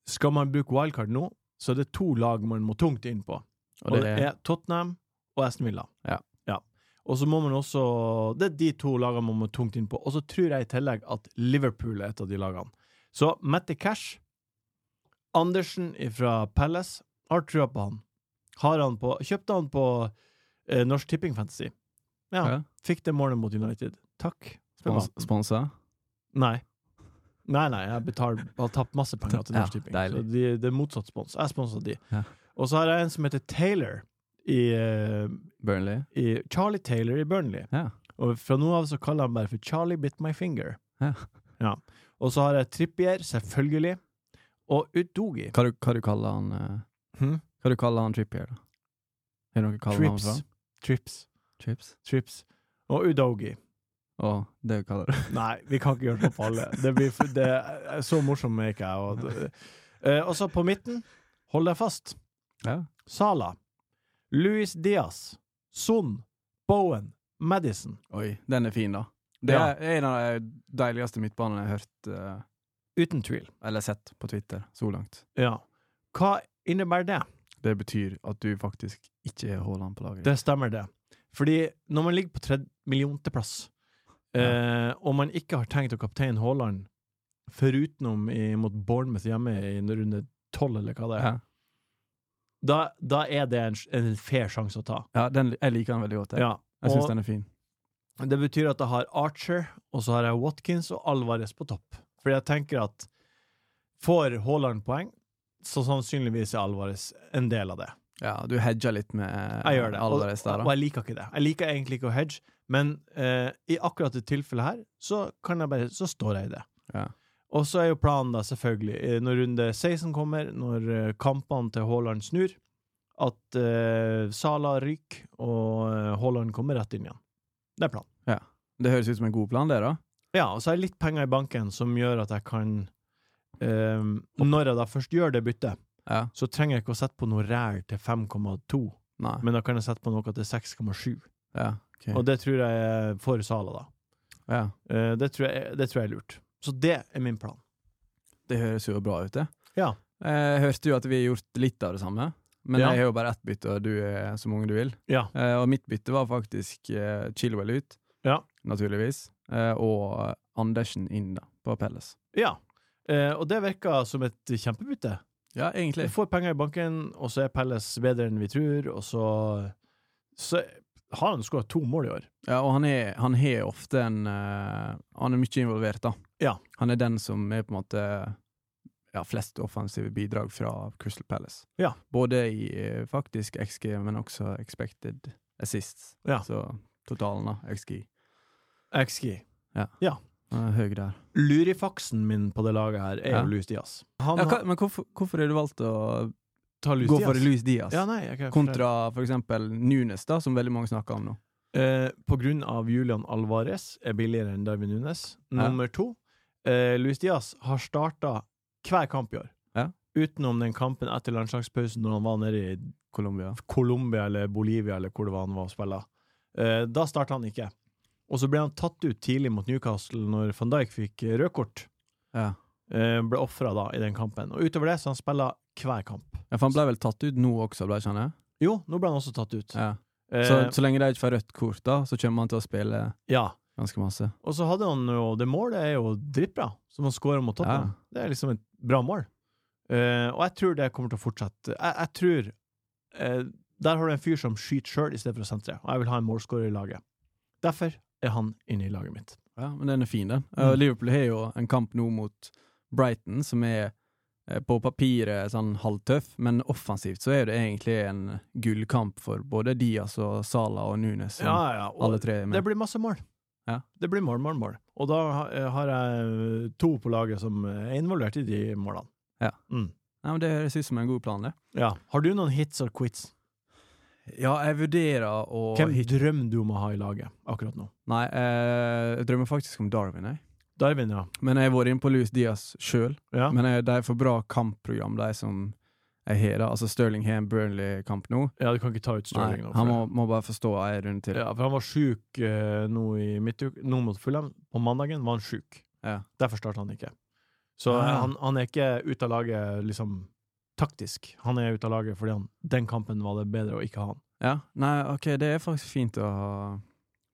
Speaker 1: skal man bruke wildcard nå, så er det to lag man må tungt inn på. Og det er Tottenham og Aston Villa.
Speaker 2: Ja.
Speaker 1: Og så må man også Det er de to lagene man må tungt inn på. Og så tror jeg i tillegg at Liverpool er et av de lagene. Så Matty Cash, Andersen fra Palace, har trua på han. Har han på Kjøpte han på eh, Norsk Tipping Fantasy. Ja.
Speaker 2: Ja.
Speaker 1: Fikk det målet mot United. Takk. for
Speaker 2: Spons
Speaker 1: maten.
Speaker 2: Sponsa?
Speaker 1: Nei. Nei, nei, jeg betaler, har tapt masse penger til
Speaker 2: Ja,
Speaker 1: Norsk Tipping.
Speaker 2: deilig.
Speaker 1: Så de, det er motsatt spons. Jeg sponset de.
Speaker 2: Ja.
Speaker 1: Og så har jeg en som heter Taylor i, eh,
Speaker 2: Burnley?
Speaker 1: i Charlie Taylor i Burnley.
Speaker 2: Ja.
Speaker 1: Og fra nå av så kaller han bare for Charlie Bit My Finger.
Speaker 2: Ja.
Speaker 1: Ja. Og så har jeg Trippier, selvfølgelig. Og Udogi.
Speaker 2: Hva, du, hva du kaller han eh,
Speaker 1: Hm?
Speaker 2: Hva du kaller han Trippier, da? Har du noe kallet han
Speaker 1: Trips.
Speaker 2: fra?
Speaker 1: Trips.
Speaker 2: Trips.
Speaker 1: Trips. Og Udogi.
Speaker 2: Å, det kaller du
Speaker 1: Nei, vi kan ikke gjøre sånn på alle. Det blir for, det er så morsom er ikke jeg. Og, det- Eh, og så på midten, hold deg fast.
Speaker 2: Ja.
Speaker 1: Sala. Luis Diaz. Son. Bowen. Madison.
Speaker 2: Oi, den er fin, da. Det
Speaker 1: Ja.
Speaker 2: er en av de deiligste midtbanene jeg har hørt, eh,
Speaker 1: Uten tvil.
Speaker 2: eller sett på Twitter, så langt.
Speaker 1: Ja. Hva innebærer det?
Speaker 2: Det betyr at du faktisk ikke er Haaland på laget.
Speaker 1: Det stemmer, det. Fordi når man ligger på tredje millionteplass, eh, og man ikke har tenkt å kapteine Haaland forutenom i- mot Bournemouth hjemme i en runde tolv, eller hva det er,
Speaker 2: ja.
Speaker 1: da, da er det en, en fair sjanse å ta.
Speaker 2: ja den, jeg liker den veldig godt. Jeg,
Speaker 1: Ja.
Speaker 2: jeg syns
Speaker 1: Og
Speaker 2: den er fin.
Speaker 1: det betyr at jeg har Archer, og så har jeg Watkins og Alvarez på topp. Fordi jeg tenker at får Haaland poeng, så sannsynligvis er Alvarez en del av det.
Speaker 2: Ja, du hedger litt med eh,
Speaker 1: Jeg gjør det.
Speaker 2: Alvarez der,
Speaker 1: og, og
Speaker 2: da.
Speaker 1: jeg liker ikke det. Jeg liker egentlig ikke å hedge, men eh, i akkurat det tilfellet her, så, kan jeg bare, så står jeg i det.
Speaker 2: Ja.
Speaker 1: Og så er jo planen da, selvfølgelig, eh, når runde 16 kommer, når eh, kampene til Haaland snur, at eh, Sala ryker, og eh, Haaland kommer rett inn igjen. Det er planen.
Speaker 2: Det høres ut som en god plan, det, da.
Speaker 1: Ja, og så har jeg litt penger i banken som gjør at jeg kan eh, Når jeg da først gjør det byttet,
Speaker 2: Ja.
Speaker 1: så trenger jeg ikke å sette på noe ræl til 5,2,
Speaker 2: Nei.
Speaker 1: men da kan jeg sette på noe til 6,7.
Speaker 2: Ja. ok.
Speaker 1: Og det tror jeg er for Sala, da.
Speaker 2: ja.
Speaker 1: Eh, Det tror, jeg, det tror jeg er lurt. Så det er min plan.
Speaker 2: Det høres jo bra ut, det. Eh,
Speaker 1: Ja.
Speaker 2: Jeg hørte jo at vi har gjort litt av det samme, men
Speaker 1: Ja.
Speaker 2: jeg har jo bare ett bytte, og du er så mange du vil.
Speaker 1: Ja.
Speaker 2: Eh, og mitt bytte var faktisk eh, Chilwell ut,
Speaker 1: Ja.
Speaker 2: naturligvis, eh, og Andersen inn da, på Pelles.
Speaker 1: ja. Eh, og det virker som et kjempebytte.
Speaker 2: Ja,
Speaker 1: Vi
Speaker 2: egentlig.
Speaker 1: får penger i banken, og så er Pelles bedre enn vi tror, og så Så har han skåra to mål i år.
Speaker 2: Ja, og han er, han er ofte en eh, Han er mye involvert, da.
Speaker 1: Ja.
Speaker 2: Han er den som er på en måte ja, flest offensive bidrag fra Crystal Palace.
Speaker 1: Ja.
Speaker 2: Både i eh, faktisk XG, men også expected assists.
Speaker 1: Ja.
Speaker 2: Så totalen, da, XG.
Speaker 1: XG.
Speaker 2: Han er høy der.
Speaker 1: Lurifaksen min på det laget her er
Speaker 2: Ja.
Speaker 1: jo Louis Diaz. Han
Speaker 2: Ja, hva,
Speaker 1: har-
Speaker 2: men hvorfor, hvorfor har du valgt å
Speaker 1: tar Luis
Speaker 2: gå
Speaker 1: Diaz.
Speaker 2: for Luis Diaz?
Speaker 1: Ja, nei, jeg kan
Speaker 2: Kontra for eksempel Nunes, da, som veldig mange snakker om nå.
Speaker 1: Eh, på grunn av Julian Alvarez er billigere enn Darwin Nunes. Nummer to, eh, Luis Diaz har starta hver kamp i år.
Speaker 2: Ja.
Speaker 1: Utenom den kampen etter landslagspausen når han var nede i
Speaker 2: Colombia.
Speaker 1: Colombia eller Bolivia eller hvor det var han var og spilla. Eh, da starta han ikke. Og så ble han tatt ut tidlig mot Newcastle når van Dijk fikk eh, rødt kort.
Speaker 2: Ja.
Speaker 1: Eh, ble ofra da i den kampen. Og utover det så han spilla hver kamp.
Speaker 2: ja, for han ble vel tatt ut nå også, ble ikke han det?
Speaker 1: Jo, nå ble han også tatt ut.
Speaker 2: Ja.
Speaker 1: Eh,
Speaker 2: Så, så lenge de ikke får rødt kort, da, så kommer han til å spille
Speaker 1: ja.
Speaker 2: ganske masse.
Speaker 1: Og så hadde han jo Det målet er jo dritbra, som han scorer mot Tottenham. Det er liksom et bra mål. Eh, og jeg tror det kommer til å fortsette. Jeg, jeg tror eh, Der har du en fyr som skyter sjøl istedenfor å sentre, og jeg vil ha en målscorer i laget. Derfor er han inne i laget mitt.
Speaker 2: Ja, men den er fin, den.
Speaker 1: Mm.
Speaker 2: Og Liverpool har jo en kamp nå mot Brighton, som er eh, på papiret sånn halvtøff, men offensivt så er det egentlig en gullkamp for både Diaz og Sala og Nunes. som
Speaker 1: ja, og
Speaker 2: Alle tre er
Speaker 1: Det
Speaker 2: med.
Speaker 1: blir masse mål.
Speaker 2: Ja.
Speaker 1: Det blir mål, mål, mål. Og da ha- eh, har jeg eh, to på laget som er involvert i de målene.
Speaker 2: Ja.
Speaker 1: Mm.
Speaker 2: Nei, men Det høres ut som en god plan, det.
Speaker 1: ja. Har du noen hits or quits?
Speaker 2: Ja, jeg vurderer å
Speaker 1: Hvem drømmer du om å ha i laget akkurat nå?
Speaker 2: Nei, eh, jeg drømmer faktisk om Darwin, jeg.
Speaker 1: Darwin, ja.
Speaker 2: Men jeg har vært inne på Louis Diaz sjøl.
Speaker 1: ja.
Speaker 2: Men jeg, de får bra kampprogram, de som jeg har. da. Altså Stirling har en Burnley-kamp nå.
Speaker 1: Ja, du kan ikke ta ut
Speaker 2: Nei,
Speaker 1: Stirling nå.
Speaker 2: han må,
Speaker 1: for-
Speaker 2: må bare få stå en runde til.
Speaker 1: ja, for han var sjuk eh, nå i midtuke, nå mot Fulham. På mandagen var han sjuk.
Speaker 2: Ja.
Speaker 1: Derfor starta han ikke. Så
Speaker 2: Ah.
Speaker 1: eh, han, han er ikke ute av laget liksom taktisk. Han er ute av laget fordi han, den kampen var det bedre å ikke ha han.
Speaker 2: Ja, Nei, ok, det er faktisk fint å ha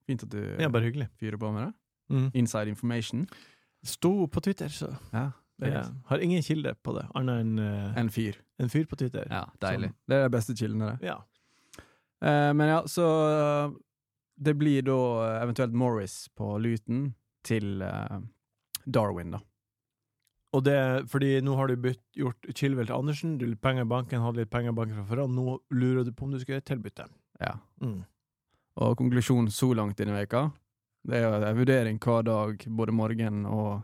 Speaker 2: Fint at du
Speaker 1: Det er bare hyggelig.
Speaker 2: fyrer på med det.
Speaker 1: Mm.
Speaker 2: Inside information.
Speaker 1: Sto på Twitter, så
Speaker 2: Ja, det er
Speaker 1: jeg har ingen kilde på det, annet enn eh,
Speaker 2: En fyr.
Speaker 1: en fyr på Twitter.
Speaker 2: Ja, deilig. Det er de beste kildene, det.
Speaker 1: Ja.
Speaker 2: Eh, men ja, så eh, det blir da eh, eventuelt Morris på Luton til eh, Darwin, da.
Speaker 1: Og det, fordi nå har du bytt, gjort Chilwell til Andersen, du har litt penger i banken, hadde litt penger i banken fra før av, nå lurer du på om du skal gjøre et tilbytte.
Speaker 2: Ja.
Speaker 1: Mm.
Speaker 2: Og konklusjonen så langt denne veka Det er jo en vurdering hver dag, både morgen og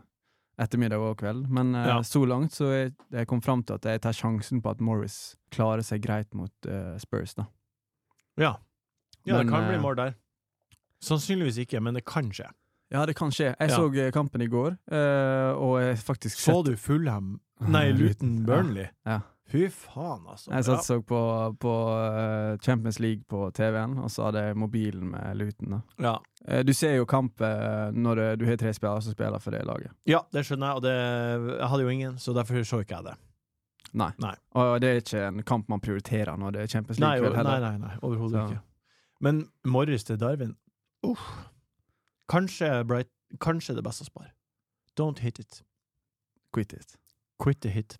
Speaker 2: ettermiddag og kveld. Men eh,
Speaker 1: Ja.
Speaker 2: så langt så jeg, jeg kom fram til at jeg tar sjansen på at Morris klarer seg greit mot eh, Spurs, da.
Speaker 1: Ja. Ja,
Speaker 2: Men,
Speaker 1: det kan
Speaker 2: eh,
Speaker 1: bli mål der. Sannsynligvis ikke, men det kan skje.
Speaker 2: Ja, det kan skje. Jeg
Speaker 1: Ja.
Speaker 2: så eh, kampen i går, eh, og jeg faktisk
Speaker 1: Så du Fulham Nei, Luton Burnley?
Speaker 2: Ah, Ja.
Speaker 1: Fy faen, altså.
Speaker 2: Jeg satt og så på, på eh, Champions League på TV-en, og så hadde jeg mobilen med Luton. da.
Speaker 1: ja.
Speaker 2: Eh, Du ser jo kampen eh, når eh, du har tre spillere som spiller for det laget.
Speaker 1: ja, det skjønner jeg, og det, jeg hadde jo ingen, så derfor så ikke jeg det.
Speaker 2: Nei.
Speaker 1: Nei.
Speaker 2: Og det er ikke en kamp man prioriterer når det er Champions
Speaker 1: Nei,
Speaker 2: League-kveld
Speaker 1: nei,
Speaker 2: heller.
Speaker 1: nei, nei overhodet
Speaker 2: Så-
Speaker 1: ikke. Men Morris til Darwin Uff. Kanskje, Bright, kanskje det beste å spare. Don't hit it.
Speaker 2: Quit it.
Speaker 1: Quit the hit.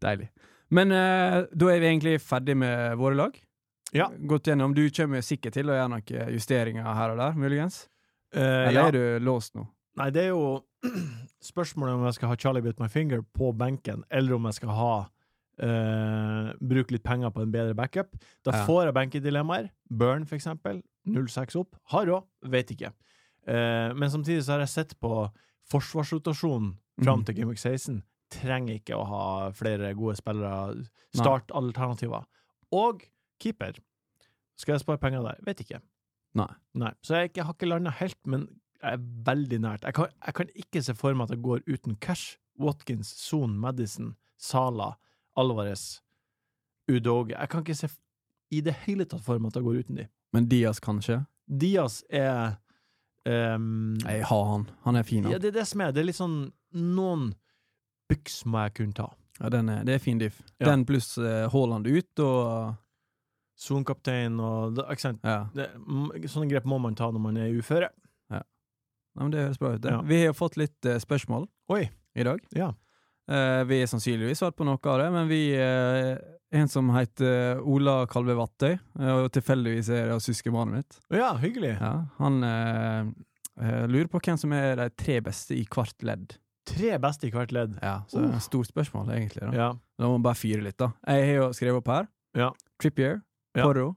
Speaker 2: Deilig. Men eh, da er vi egentlig ferdig med våre lag.
Speaker 1: Ja.
Speaker 2: Gått gjennom. Du kommer sikkert til å gjøre noen eh, justeringer her og der, muligens.
Speaker 1: Eh,
Speaker 2: Eller
Speaker 1: ja.
Speaker 2: er du låst nå?
Speaker 1: Nei, det er jo spørsmålet om jeg skal ha Charlie Bit My Finger på benken, eller om jeg skal ha eh, bruke litt penger på en bedre backup. Da
Speaker 2: Ja.
Speaker 1: får jeg benkedilemmaer. Burn, for eksempel. 06 opp. Har råd, vet ikke. Eh, men samtidig så har jeg sett på forsvarsrotasjonen fram
Speaker 2: Mhm.
Speaker 1: til Game Week 16. Trenger ikke å ha flere gode spillere. Startalternativer. Og keeper. Skal jeg spare penger der? Vet ikke.
Speaker 2: Nei.
Speaker 1: Nei. Så jeg, er ikke- jeg har ikke landa helt, men jeg er veldig nært. Jeg kan, jeg kan ikke se for meg at det går uten cash. Watkins, Son, Madison, Sala, Alvarez, Udoge. Jeg kan ikke se f- i det hele tatt for meg at det går uten de.
Speaker 2: Mm. Men Diaz, kanskje?
Speaker 1: Diaz er ehm,
Speaker 2: Jeg har han. Han er fin.
Speaker 1: ja,
Speaker 2: Han.
Speaker 1: Det er det som er. Det er litt sånn Noen byks må jeg kunne ta.
Speaker 2: Ja, den er, det er fin diff.
Speaker 1: Ja.
Speaker 2: Den pluss eh, Haaland ut og
Speaker 1: Son-kaptein og det- ikke sant?
Speaker 2: Ja.
Speaker 1: Det, m- sånne grep må man ta når man er uføre.
Speaker 2: Nei, men det høres bra ut. det.
Speaker 1: Ja.
Speaker 2: Vi har jo fått litt eh, spørsmål
Speaker 1: Oi.
Speaker 2: i dag.
Speaker 1: Ja.
Speaker 2: Eh, vi har sannsynligvis svart på noe av det, men vi eh, En som heter eh, Ola Kalve Vattøy, eh, og tilfeldigvis er det søskenbarnet mitt,
Speaker 1: Ja, hyggelig.
Speaker 2: ja, han eh, eh, lurer på hvem som er de tre beste i hvert ledd.
Speaker 1: Tre beste i hvert ledd.
Speaker 2: Ja, så det er
Speaker 1: Uh.
Speaker 2: et stort spørsmål, egentlig. Da.
Speaker 1: Ja.
Speaker 2: da må man bare fyre litt, da. Jeg har jo skrevet opp her.
Speaker 1: Ja.
Speaker 2: Trippier,
Speaker 1: Ja. Eh.
Speaker 2: Porro,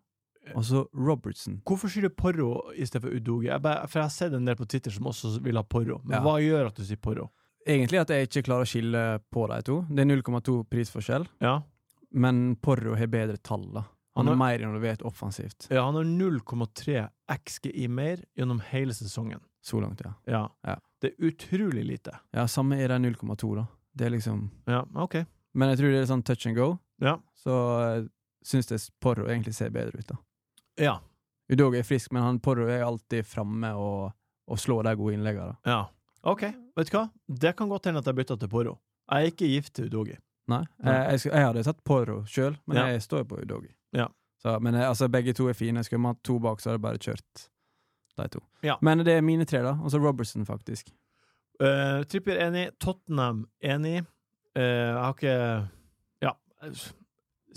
Speaker 2: og så Robertson.
Speaker 1: Hvorfor sier du Porro i stedet for Udoge? Jeg bare, for jeg har sett en del på Twitter som også vil ha Porro. Men
Speaker 2: Ja.
Speaker 1: hva gjør at du sier Porro?
Speaker 2: Egentlig at jeg ikke klarer å skille på de to. Det er 0,2 prisforskjell.
Speaker 1: Ja.
Speaker 2: Men Porro har bedre tall, da. Han
Speaker 1: Han
Speaker 2: er
Speaker 1: har-
Speaker 2: mer involvert offensivt.
Speaker 1: ja, han har 0,3 XGI mer gjennom hele sesongen.
Speaker 2: Så langt, ja.
Speaker 1: Ja.
Speaker 2: Ja.
Speaker 1: Det er utrolig lite.
Speaker 2: Ja, Samme er de 0,2, da. Det er liksom
Speaker 1: Ja, OK.
Speaker 2: Men jeg tror det er sånn touch and go.
Speaker 1: Ja.
Speaker 2: Så uh, syns jeg Porro egentlig ser bedre ut, da.
Speaker 1: Ja.
Speaker 2: Udog er frisk, men han Porro er alltid framme og, og slår de gode innleggene. da.
Speaker 1: ja. OK, vet du hva? Det kan godt hende at jeg bytter til Porro. Jeg er ikke gift til Udoge.
Speaker 2: Nei, Eh,
Speaker 1: Nei.
Speaker 2: Jeg, jeg, sk- jeg hadde tatt Porro sjøl, men
Speaker 1: Ja.
Speaker 2: jeg står jo på Udogi.
Speaker 1: Ja.
Speaker 2: Så, men eh, altså, begge to er fine. Skulle man hatt to bak, så hadde jeg bare kjørt de to.
Speaker 1: Ja.
Speaker 2: Men det er mine tre, da. Og så Robertson, faktisk.
Speaker 1: Eh, Trippier enig, Tottenham enig. Eh, jeg har ikke Ja.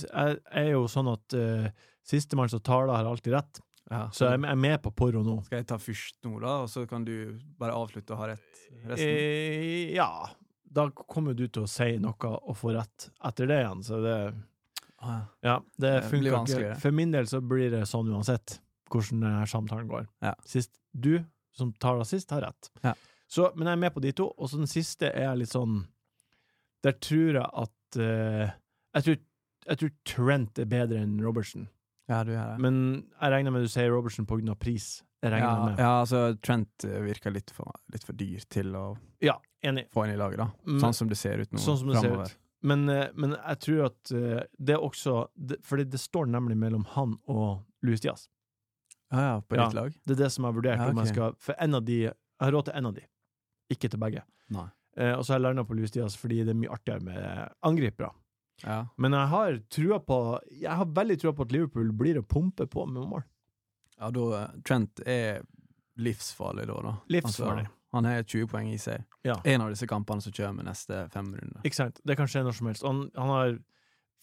Speaker 1: Jeg er jo sånn at uh, sistemann som taler, har alltid rett, så jeg er med på Porro nå.
Speaker 2: Skal jeg ta først nå, da, og så kan du bare avslutte og ha rett resten?
Speaker 1: Eh, ja. Da kommer du til å si noe og få rett etter det igjen, så det
Speaker 2: Ah,
Speaker 1: Ja, det
Speaker 2: Det blir
Speaker 1: funker ikke.
Speaker 2: vanskeligere.
Speaker 1: For min del så blir det sånn uansett hvordan denne samtalen går.
Speaker 2: Ja.
Speaker 1: Sist, du som taler sist, har rett.
Speaker 2: Ja.
Speaker 1: Så, men jeg er med på de to, og så den siste er litt sånn Der tror jeg at eh, jeg, tror, jeg tror Trent er bedre enn Robertson.
Speaker 2: Ja, du gjør det.
Speaker 1: Men jeg regner med du sier Robertson pga. pris. Jeg regner
Speaker 2: ja,
Speaker 1: med.
Speaker 2: ja, altså Trent eh, virker litt for, litt for dyr til å
Speaker 1: Ja, enig.
Speaker 2: få inn i laget, da.
Speaker 1: Mm.
Speaker 2: Sånn som det ser ut nå.
Speaker 1: Sånn som det ser
Speaker 2: fremover.
Speaker 1: ut. Men, eh, men jeg tror at eh, det er også det, Fordi det står nemlig mellom han og Louis Diaz.
Speaker 2: Ja, ja, på
Speaker 1: Ja.
Speaker 2: ditt lag?
Speaker 1: Det er det som jeg har vurdert.
Speaker 2: Ja,
Speaker 1: om jeg
Speaker 2: ok.
Speaker 1: skal, for en av de, jeg har råd til én av de, ikke til begge.
Speaker 2: Nei.
Speaker 1: Eh, og så har jeg landa på Louis Diaz fordi det er mye artigere med angripere.
Speaker 2: Ja.
Speaker 1: Men jeg har trua på Jeg har veldig trua på at Liverpool blir å pumpe på med mål.
Speaker 2: ja, da eh, Trent er livsfarlig da, da.
Speaker 1: Livsfarlig.
Speaker 2: Altså, han har 20 poeng i seg.
Speaker 1: Ja.
Speaker 2: En av disse kampene som kommer neste fem runder.
Speaker 1: Ikke sant? Det kan skje når som helst. Han, han har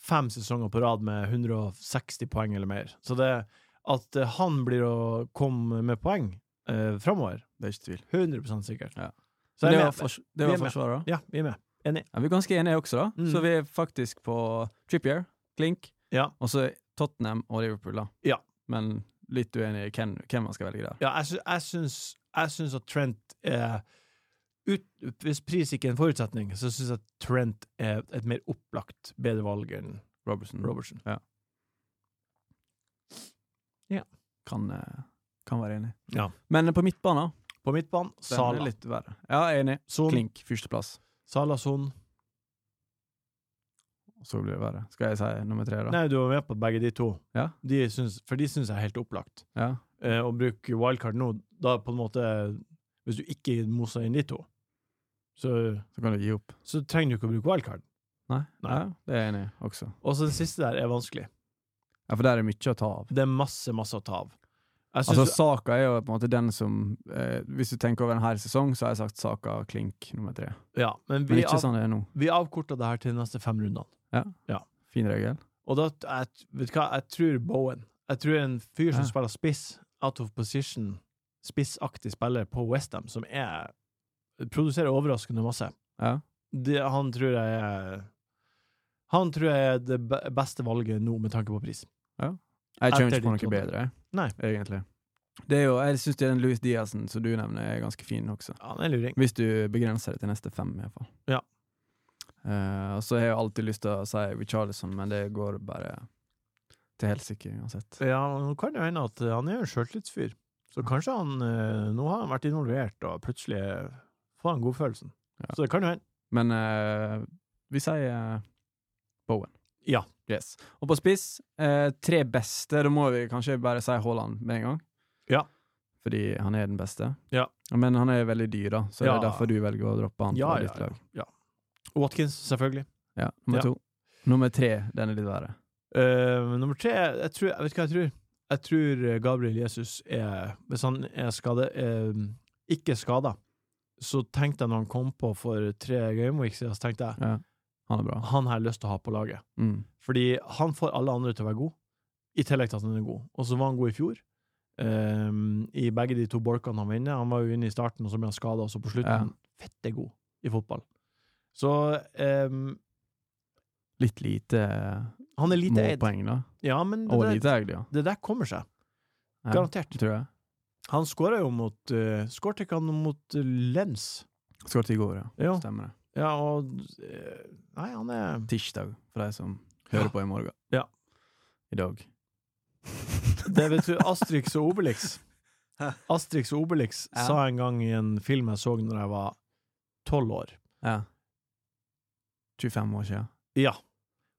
Speaker 1: fem sesonger på rad med 160 poeng eller mer. Så det at eh, han blir å komme med poeng eh, framover,
Speaker 2: Det er ikke tvil.
Speaker 1: 100 sikkert.
Speaker 2: Ja.
Speaker 1: Så
Speaker 2: det
Speaker 1: jeg er
Speaker 2: var,
Speaker 1: med.
Speaker 2: fors det
Speaker 1: Vi
Speaker 2: var
Speaker 1: er med.
Speaker 2: forsvaret, da.
Speaker 1: Ja, vi er med.
Speaker 2: Ja, vi er ganske enige også, da.
Speaker 1: Mm.
Speaker 2: Så vi er faktisk på Trippier, Klink,
Speaker 1: Ja.
Speaker 2: og så Tottenham og Liverpool, da.
Speaker 1: Ja.
Speaker 2: Men litt uenig i hvem, hvem man skal velge der.
Speaker 1: Ja, jeg, sy jeg, syns, jeg syns at Trent er ut, Hvis pris ikke er en forutsetning, så syns jeg at Trent er et mer opplagt bedre valg enn
Speaker 2: Robertson
Speaker 1: Robertson.
Speaker 2: kan, eh, kan være enig.
Speaker 1: Ja.
Speaker 2: Men eh, på midtbanen,
Speaker 1: På midtbanen,
Speaker 2: den er
Speaker 1: Sala.
Speaker 2: litt verre. Ja, enig.
Speaker 1: Son,
Speaker 2: Klink, førsteplass.
Speaker 1: Sala Son.
Speaker 2: Så blir det verre. Skal jeg si nummer tre, da?
Speaker 1: Nei, du var med på begge de to.
Speaker 2: Ja.
Speaker 1: De syns, for de syns jeg er helt opplagt.
Speaker 2: Ja.
Speaker 1: Eh, å bruke wildcard nå, da på en måte Hvis du ikke moser inn de to, så,
Speaker 2: Så kan du gi opp.
Speaker 1: så trenger du ikke å bruke wildcard.
Speaker 2: Nei,
Speaker 1: Nei.
Speaker 2: Ja, det er jeg enig i også.
Speaker 1: Og så den siste der er vanskelig.
Speaker 2: Ja, for der er mye å ta av.
Speaker 1: Det er masse, masse å ta av. Jeg
Speaker 2: Altså,
Speaker 1: syns
Speaker 2: Saka er jo på en måte den som eh, Hvis du tenker over en hel sesong, så har jeg sagt Saka, Klink, nummer tre.
Speaker 1: Ja, men
Speaker 2: Men
Speaker 1: vi,
Speaker 2: ikke
Speaker 1: av,
Speaker 2: sånn det er nå.
Speaker 1: vi avkorta det her til de neste fem rundene.
Speaker 2: Fin regel.
Speaker 1: Og da jeg, Vet du hva, jeg tror Bowen Jeg tror en fyr som
Speaker 2: Ja.
Speaker 1: spiller spiss, out of position, spissaktig spiller på Westham, som er Produserer overraskende masse.
Speaker 2: Ja.
Speaker 1: Det, han tror jeg er Han tror jeg er det be- beste valget nå, med tanke på pris.
Speaker 2: Jeg
Speaker 1: Etter
Speaker 2: kommer ikke på
Speaker 1: de to
Speaker 2: noe bedre,
Speaker 1: Nei.
Speaker 2: egentlig. Det er jo, jeg syns den Louis Diazen som du nevner, er ganske fin også.
Speaker 1: Ja, Han er luring.
Speaker 2: Hvis du begrenser det til neste fem, iallfall.
Speaker 1: Ja.
Speaker 2: Uh, og så har jeg jo alltid lyst til å si Richarlison, men det går bare til helsike uansett.
Speaker 1: Ja, nå kan det jo hende at eh, han er jo en sjøltillitsfyr. Så kanskje han eh, Nå har han vært involvert, og plutselig får han godfølelsen.
Speaker 2: Ja.
Speaker 1: Så det kan jo hende.
Speaker 2: Men eh, vi sier eh, Bowen.
Speaker 1: Ja.
Speaker 2: Yes. Og på spiss, eh, tre beste. Da må vi kanskje bare si Haaland med en gang.
Speaker 1: Ja.
Speaker 2: Fordi han er den beste.
Speaker 1: Ja.
Speaker 2: Men han er veldig dyr, da, så det er
Speaker 1: Ja.
Speaker 2: derfor du velger å droppe han.
Speaker 1: Ja,
Speaker 2: fra
Speaker 1: ja,
Speaker 2: ditt
Speaker 1: ja,
Speaker 2: lag.
Speaker 1: ja. Watkins, selvfølgelig.
Speaker 2: Ja, nummer
Speaker 1: Ja.
Speaker 2: to. Nummer tre, den er litt verre.
Speaker 1: Eh, nummer tre jeg, tror, jeg vet ikke hva jeg tror. Jeg tror eh, Gabriel Jesus er Hvis han er skade, eh, ikke skada, så tenkte jeg når han kom på for tre gameweeks siden, så tenkte jeg
Speaker 2: Ja. Han er bra.
Speaker 1: han har jeg lyst til å ha på laget.
Speaker 2: Mm.
Speaker 1: Fordi han får alle andre til å være god, i tillegg til at han er god. Og så var han god i fjor, eh, i begge de to bolkene han var inne. Han var jo inne i starten, og så ble han skada, og så på
Speaker 2: Ja.
Speaker 1: slutten Fette god i fotball. Så eh,
Speaker 2: Litt lite, eh,
Speaker 1: han er lite eid.
Speaker 2: målpoeng, da.
Speaker 1: Ja, men det,
Speaker 2: Og
Speaker 1: der-
Speaker 2: lite egg, ja.
Speaker 1: det der kommer seg.
Speaker 2: ja.
Speaker 1: Garantert.
Speaker 2: Tror jeg.
Speaker 1: Han skåra jo mot uh, Skårte ikke han mot eh, Lens?
Speaker 2: Skåret i går, ja.
Speaker 1: Ja.
Speaker 2: Stemmer det.
Speaker 1: ja og eh, Nei, han er
Speaker 2: Tirsdag, for de som hører på i morgen.
Speaker 1: Ja.
Speaker 2: I dag.
Speaker 1: Det vet du, Astrix og Obelix.
Speaker 2: Hæ?
Speaker 1: Astrix og Obelix
Speaker 2: Ja.
Speaker 1: sa en gang i en film jeg så når jeg var tolv år
Speaker 2: Ja. 25 år siden.
Speaker 1: Ja.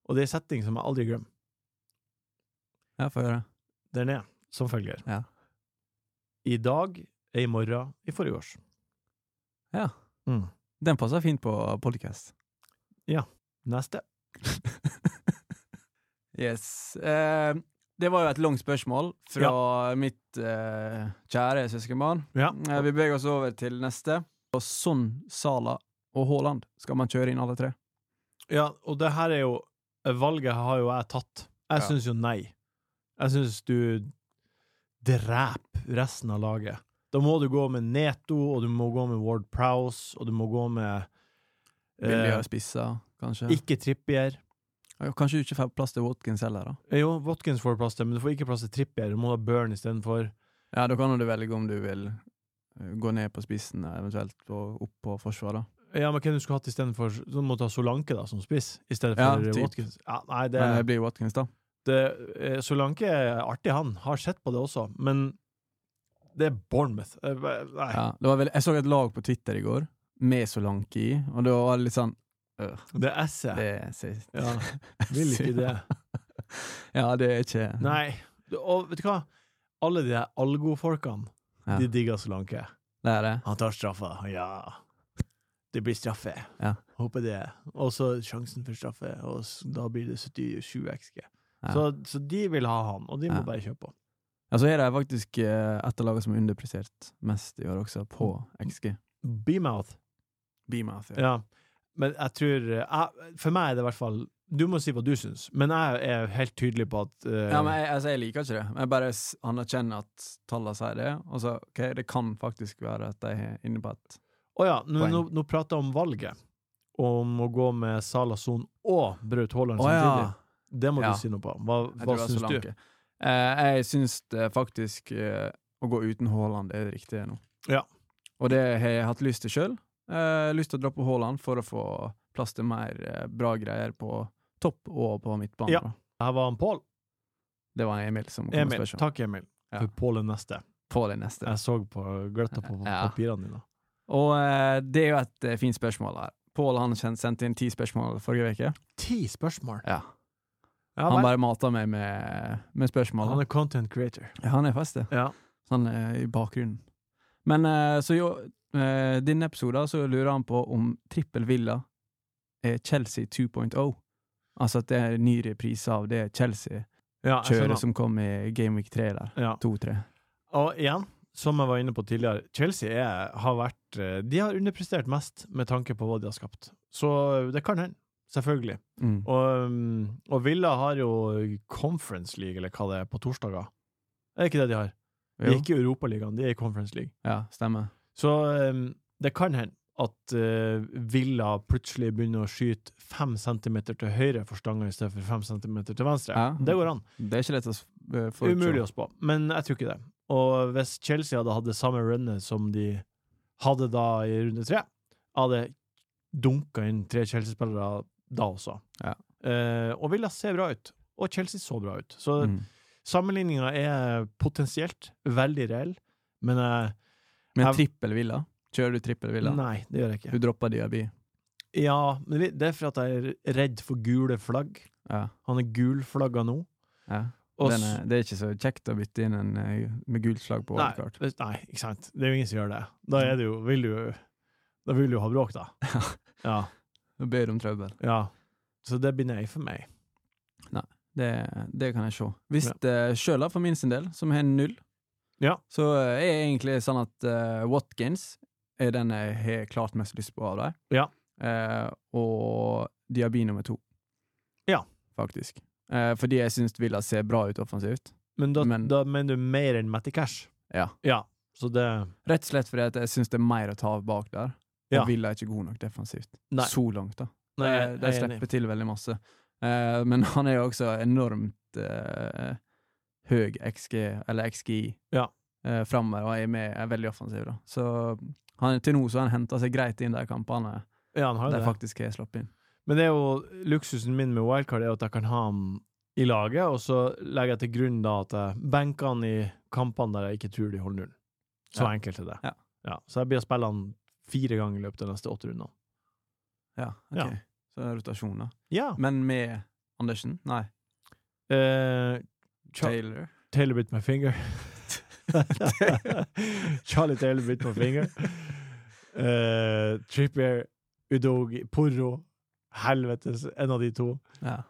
Speaker 1: Og det er en setning som jeg aldri glemmer.
Speaker 2: Ja, får høre.
Speaker 1: Den er som følger.
Speaker 2: Ja.
Speaker 1: I dag er i morgen i forrige års.
Speaker 2: Ja.
Speaker 1: Mm.
Speaker 2: Den passer fint på uh, podcast.
Speaker 1: Neste.
Speaker 2: Yes. Eh, det var jo et langt spørsmål fra mitt eh, kjære søskenbarn.
Speaker 1: Ja.
Speaker 2: Eh, vi beveger oss over til neste. Og sånn Sala og Haaland skal man kjøre inn alle tre.
Speaker 1: Ja, og det her er jo Valget har jo jeg tatt. Jeg
Speaker 2: Ja.
Speaker 1: syns jo nei. Jeg syns du dreper resten av laget. Da må du gå med Neto, og du må gå med Ward Prowse, og du må gå med eh,
Speaker 2: Billigere spisser, kanskje.
Speaker 1: Ikke Trippier.
Speaker 2: Ja, kanskje du ikke får plass til Watkins heller, da.
Speaker 1: Eh, Jo, Watkins får plass til, men du får ikke plass til Trippier. Du må ha Burn istedenfor.
Speaker 2: Ja, da kan du velge om du vil eh, gå ned på spissen, eventuelt og eh, opp på forsvar, da.
Speaker 1: Ja, men Hvem du skulle hatt istedenfor Du måtte ha Solanke da, som spiss, i stedet
Speaker 2: Ja,
Speaker 1: for
Speaker 2: typ.
Speaker 1: Watkins. Ja, nei, det,
Speaker 2: Men det blir Watkins, da.
Speaker 1: det, eh, Solanke er artig, han. Har sett på det også, men det er Bournemouth. Eh, Nei.
Speaker 2: Ja, det var vel, jeg så et lag på Twitter i går, med Solanke i, og det var litt sånn øh,
Speaker 1: Det er S-et.
Speaker 2: det, ser-
Speaker 1: Ja, vil ikke det.
Speaker 2: Ja, det er ikke
Speaker 1: Nei. Og vet du hva? Alle de der algo-folkene,
Speaker 2: Ja.
Speaker 1: de digger Solanke.
Speaker 2: Det er det.
Speaker 1: Han tar straffa, ja. Det blir straffe.
Speaker 2: Ja.
Speaker 1: Håper det. Og så sjansen for straffe, og s- da blir det 77 XG.
Speaker 2: Ja.
Speaker 1: Så, så de vil ha han, og de må
Speaker 2: Ja.
Speaker 1: bare kjøpe på.
Speaker 2: Ja, så er det faktisk eh, et av lagene som er underpressert mest i år også, på XG.
Speaker 1: Beamouth.
Speaker 2: Beamouth, ja.
Speaker 1: Ja. Men jeg tror eh, jeg, For meg er det i hvert fall Du må si hva du syns, men jeg er helt tydelig på at eh,
Speaker 2: Ja, men jeg, altså, jeg liker ikke det. Men jeg bare s- anerkjenner at tallene sier det. Og så, ok, det kan faktisk være at de er inne på et
Speaker 1: Å ja, nå,
Speaker 2: Poeng.
Speaker 1: nå, nå prater jeg om valget. Om å gå med Salah Son og Braut Haaland
Speaker 2: Å, ja.
Speaker 1: samtidig. Det må
Speaker 2: Ja.
Speaker 1: du si noe på. Hva, hva
Speaker 2: Jeg tror det er
Speaker 1: syns du?
Speaker 2: Solanke. Eh, jeg syns det faktisk eh, å gå uten Haaland er det riktige nå.
Speaker 1: Ja.
Speaker 2: Og det har jeg hatt lyst til sjøl. Eh, lyst til å dra på Haaland for å få plass til mer eh, bra greier på topp og på midtbanen.
Speaker 1: Ja.
Speaker 2: da.
Speaker 1: Her var han Pål.
Speaker 2: Det var Emil som kom
Speaker 1: Emil.
Speaker 2: med spørsmål.
Speaker 1: Takk, Emil.
Speaker 2: Ja.
Speaker 1: For Pål er neste.
Speaker 2: På det neste.
Speaker 1: Jeg så på gløtta på
Speaker 2: Ja.
Speaker 1: papirene dine.
Speaker 2: Og eh, det er jo et eh, fint spørsmål her. Pål han kjen- sendte inn ti spørsmål forrige uke.
Speaker 1: Ti spørsmål!
Speaker 2: Ja.
Speaker 1: Ja,
Speaker 2: Han
Speaker 1: vel.
Speaker 2: bare mata meg med, med spørsmål.
Speaker 1: han er content creator.
Speaker 2: Ja, han er fast det.
Speaker 1: Ja.
Speaker 2: Sånn eh, i bakgrunnen. Men eh, så jo, eh, denne episoden så lurer han på om Trippel Villa er Chelsea 2.0. Altså at det er en ny reprise av det Chelsea-kjøret
Speaker 1: Ja, jeg skjønner.
Speaker 2: som kom i Game Week 3 der.
Speaker 1: Ja.
Speaker 2: 2-3.
Speaker 1: Og igjen, som jeg var inne på tidligere, Chelsea er, har vært eh, De har underprestert mest med tanke på hva de har skapt. Så eh, det kan hende. Selvfølgelig.
Speaker 2: Mm.
Speaker 1: Og, um, og Villa har jo Conference League, eller hva det er, på torsdager. Er det ikke det de har? De er
Speaker 2: Jo,
Speaker 1: ikke i Europaligaen, de er i Conference League.
Speaker 2: ja, stemmer.
Speaker 1: Så um, det kan hende at eh, Villa plutselig begynner å skyte fem centimeter til høyre for stanga i stedet for fem centimeter til venstre.
Speaker 2: Ja.
Speaker 1: Det går an.
Speaker 2: Det er ikke lett å s- eh, forutse.
Speaker 1: Umulig å spå, men jeg tror ikke det. Og hvis Chelsea hadde hatt det samme runnet som de hadde da i runde tre, hadde dunka inn tre Chelsea-spillere da også.
Speaker 2: Ja.
Speaker 1: Eh, og ville se bra ut. Og Chelsea så bra ut. Så
Speaker 2: Mm.
Speaker 1: sammenligninga er potensielt veldig reell, men eh,
Speaker 2: Men
Speaker 1: Jeg-
Speaker 2: Trippel Villa? Kjører du Trippel Villa?
Speaker 1: nei, det gjør jeg
Speaker 2: Du
Speaker 1: ikke.
Speaker 2: dropper Diaby?
Speaker 1: Ja, men vi- det er for at jeg er redd for gule flagg.
Speaker 2: Ja.
Speaker 1: Han er gulflagga nå.
Speaker 2: ja.
Speaker 1: Og
Speaker 2: Den
Speaker 1: s-
Speaker 2: er, det er ikke så kjekt å bytte inn en eh, med gult slag på
Speaker 1: Nei,
Speaker 2: wildcard.
Speaker 1: hvis- nei, ikke sant. Det er jo ingen som gjør det. Da er det jo, vil du jo Da vil du jo ha bråk, da. Ja.
Speaker 2: Nå ber du om trøbbel.
Speaker 1: ja. Så det blir nei for meg.
Speaker 2: Det, det kan jeg se. Hvis eh, sjøl, da, for min sin del, som har null,
Speaker 1: Ja.
Speaker 2: så eh, er jeg egentlig sånn at eh, Watkins er den jeg har klart mest lyst på av dem.
Speaker 1: Ja.
Speaker 2: Eh, og Diaby nummer to.
Speaker 1: Ja.
Speaker 2: Faktisk. Eh, fordi jeg syns Villa ser bra ut offensivt.
Speaker 1: Men da,
Speaker 2: Men-
Speaker 1: da mener du mer enn Matty Cash?
Speaker 2: Ja.
Speaker 1: Ja. Så det
Speaker 2: Rett og slett fordi at jeg syns det er mer å ta av bak der. Og
Speaker 1: Ja.
Speaker 2: Villa er ikke god nok defensivt.
Speaker 1: Nei.
Speaker 2: Så langt, da.
Speaker 1: Nei,
Speaker 2: Eh,
Speaker 1: jeg
Speaker 2: de
Speaker 1: er enig.
Speaker 2: slipper til veldig masse. Eh, men han er jo også enormt eh, høy XG, eller XGI,
Speaker 1: Ja.
Speaker 2: eh, framover og er, med, er veldig offensiv. da. Så han, til nå så har han henta seg greit inn de kampene
Speaker 1: Ja, han har jo
Speaker 2: de
Speaker 1: det.
Speaker 2: faktisk har sluppet inn.
Speaker 1: Men det er jo luksusen min med wildcard er jo at jeg kan ha han i laget, og så legger jeg til grunn da at jeg benker han i kampene der jeg ikke tror de holder null. Så
Speaker 2: Ja.
Speaker 1: enkelt er det.
Speaker 2: Ja.
Speaker 1: Så jeg blir å spille han fire ganger i løpet av de neste åtte rundene.
Speaker 2: Ja, ok.
Speaker 1: Ja.
Speaker 2: Så det er rotasjon, da.
Speaker 1: Ja.
Speaker 2: Men med Andersen? Nei,
Speaker 1: Eh, Char-
Speaker 2: Taylor.
Speaker 1: Taylor bit my finger. Charlie Taylor bit my finger. Eh, Trippier, Udogi, Porro. Helvetes, en av de to.
Speaker 2: Ja.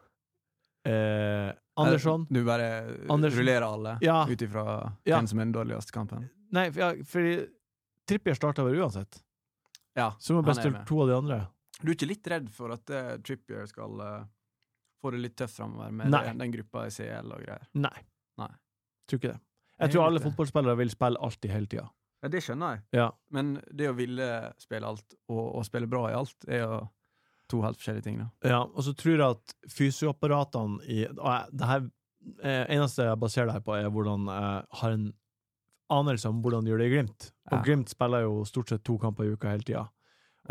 Speaker 1: Eh, Andersson.
Speaker 2: Du bare
Speaker 1: Andersen.
Speaker 2: rullerer alle
Speaker 1: Ja.
Speaker 2: ut ifra
Speaker 1: Ja.
Speaker 2: hvem som er den dårligste kampen?
Speaker 1: Nei, for, ja, fordi Trippier starta vel uansett.
Speaker 2: Ja.
Speaker 1: Så må
Speaker 2: Han er
Speaker 1: best til
Speaker 2: med.
Speaker 1: to av de andre.
Speaker 2: Du er ikke litt redd for at eh, Trippier skal eh, få det litt tøft framover med
Speaker 1: Nei.
Speaker 2: den, den gruppa i CL og greier?
Speaker 1: Nei.
Speaker 2: Nei.
Speaker 1: Tror ikke det.
Speaker 2: Jeg
Speaker 1: Jeg tror
Speaker 2: vet
Speaker 1: alle
Speaker 2: det.
Speaker 1: fotballspillere vil spille alltid hele tida.
Speaker 2: Ja, det skjønner jeg,
Speaker 1: Ja.
Speaker 2: men det å ville spille alt og, og spille bra i alt, er jo to helt forskjellige ting, da.
Speaker 1: Ja, og så tror jeg at fysioapparatene i og jeg- det her, eh, eneste jeg baserer det her på, er hvordan jeg har en anelse om hvordan de gjør det i Glimt. Og
Speaker 2: Ja.
Speaker 1: Glimt spiller jo stort sett to kamper i uka hele tida.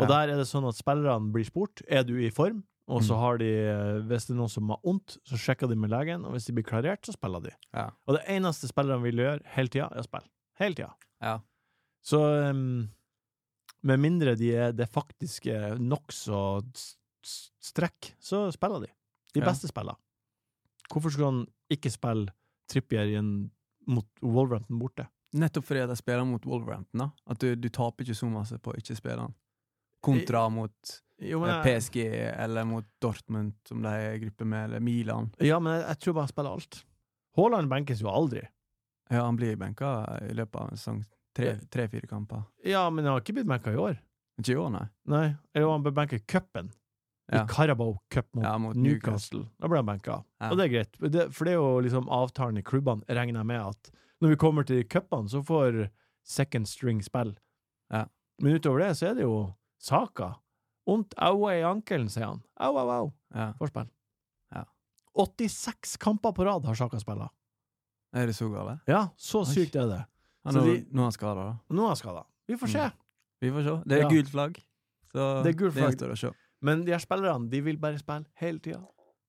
Speaker 1: Og
Speaker 2: Ja.
Speaker 1: der er det sånn at spillerne blir spurt Er du i form. Og så
Speaker 2: Mm.
Speaker 1: har de eh, Hvis det er noen som har vondt, så sjekker de med legen, og hvis de blir klarert, så spiller de.
Speaker 2: Ja.
Speaker 1: Og det eneste spillerne vil gjøre hele tida, er å spille. Hele tida.
Speaker 2: Ja.
Speaker 1: Så em, med mindre de er det faktiske nokså s- s- strekk, så spiller de. De
Speaker 2: Ja.
Speaker 1: beste spiller. Hvorfor skulle han ikke spille Trippier i en, mot Wolverhampton borte?
Speaker 2: Nettopp fordi at jeg spiller mot Wolverhampton. da. At du, du taper ikke så masse på å ikke spille han. Kontra mot
Speaker 1: Jo,
Speaker 2: eh,
Speaker 1: jeg,
Speaker 2: PSG eller mot Dortmund, som de er i gruppe med, eller Milan.
Speaker 1: ja, men jeg, jeg tror bare han spiller alt. Haaland benkes jo aldri.
Speaker 2: Ja, han blir benka i løpet av en sesong. Tre- Tre-fire kamper.
Speaker 1: Ja, men han har ikke blitt benka i år.
Speaker 2: Ikke i år, nei.
Speaker 1: Nei, eller han ble benka i cupen. I
Speaker 2: Ja.
Speaker 1: Carabao Cup mot,
Speaker 2: Ja, mot
Speaker 1: Newcastle. Da ble han benka.
Speaker 2: Ja.
Speaker 1: Og det er greit, det, for det er jo liksom avtalen i klubbene, regner jeg med at når vi kommer til cupene, så får second string spill.
Speaker 2: Ja.
Speaker 1: Men utover det så er det jo Saka. Ondt aua i ankelen, sier han. Au, au, au.
Speaker 2: Ja.
Speaker 1: Får spill.
Speaker 2: Ja.
Speaker 1: 86 kamper på rad har Saka spilla.
Speaker 2: Er det så gale?
Speaker 1: Ja, så
Speaker 2: Oi.
Speaker 1: sykt er det.
Speaker 2: Ja,
Speaker 1: Så
Speaker 2: nå,
Speaker 1: de-
Speaker 2: nå er han skada, da.
Speaker 1: Nå er han skada. Vi får se.
Speaker 2: Mm. Vi får se. Det er
Speaker 1: Ja.
Speaker 2: gult flagg. Så
Speaker 1: Det er gult flagg.
Speaker 2: gjenstår å se.
Speaker 1: Men de her spillerne, de vil bare spille hele tida.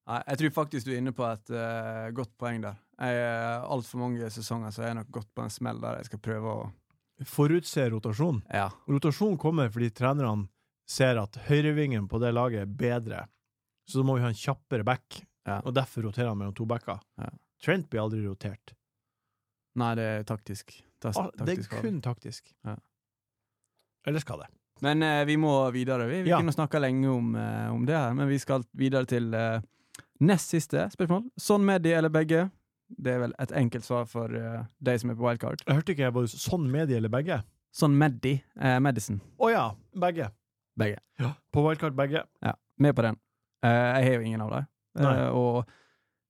Speaker 2: Nei, jeg tror faktisk du er inne på et eh, godt poeng der. Jeg, uh, Altfor mange sesonger så er jeg nok gått på en smell der jeg skal prøve å
Speaker 1: Forutse rotasjon.
Speaker 2: Ja.
Speaker 1: Rotasjon kommer fordi trenerne ser at høyrevingen på det laget er bedre, så da må vi ha en kjappere back,
Speaker 2: Ja.
Speaker 1: og derfor roterer han mellom to backer.
Speaker 2: Ja.
Speaker 1: Trent blir aldri rotert.
Speaker 2: Nei, det er taktisk. Tas,
Speaker 1: Ah, det er
Speaker 2: taktisk valg.
Speaker 1: kun taktisk.
Speaker 2: Ja.
Speaker 1: Eller skal det?
Speaker 2: Men eh, vi må videre. Vi, vi
Speaker 1: Ja.
Speaker 2: kunne snakka lenge om, eh, om det her, men vi skal videre til eh, nest siste spørsmål. Sånn medie eller begge? Det er vel et enkelt svar for eh, de som er på wildcard.
Speaker 1: Jeg hørte ikke jeg var sånn medie eller begge.
Speaker 2: Sånn medie. eh, medicine.
Speaker 1: Å ja, begge.
Speaker 2: Begge.
Speaker 1: Ja. På wildcard begge.
Speaker 2: Med på den. Eh, jeg har jo ingen av dem. Eh,
Speaker 1: Nei.
Speaker 2: og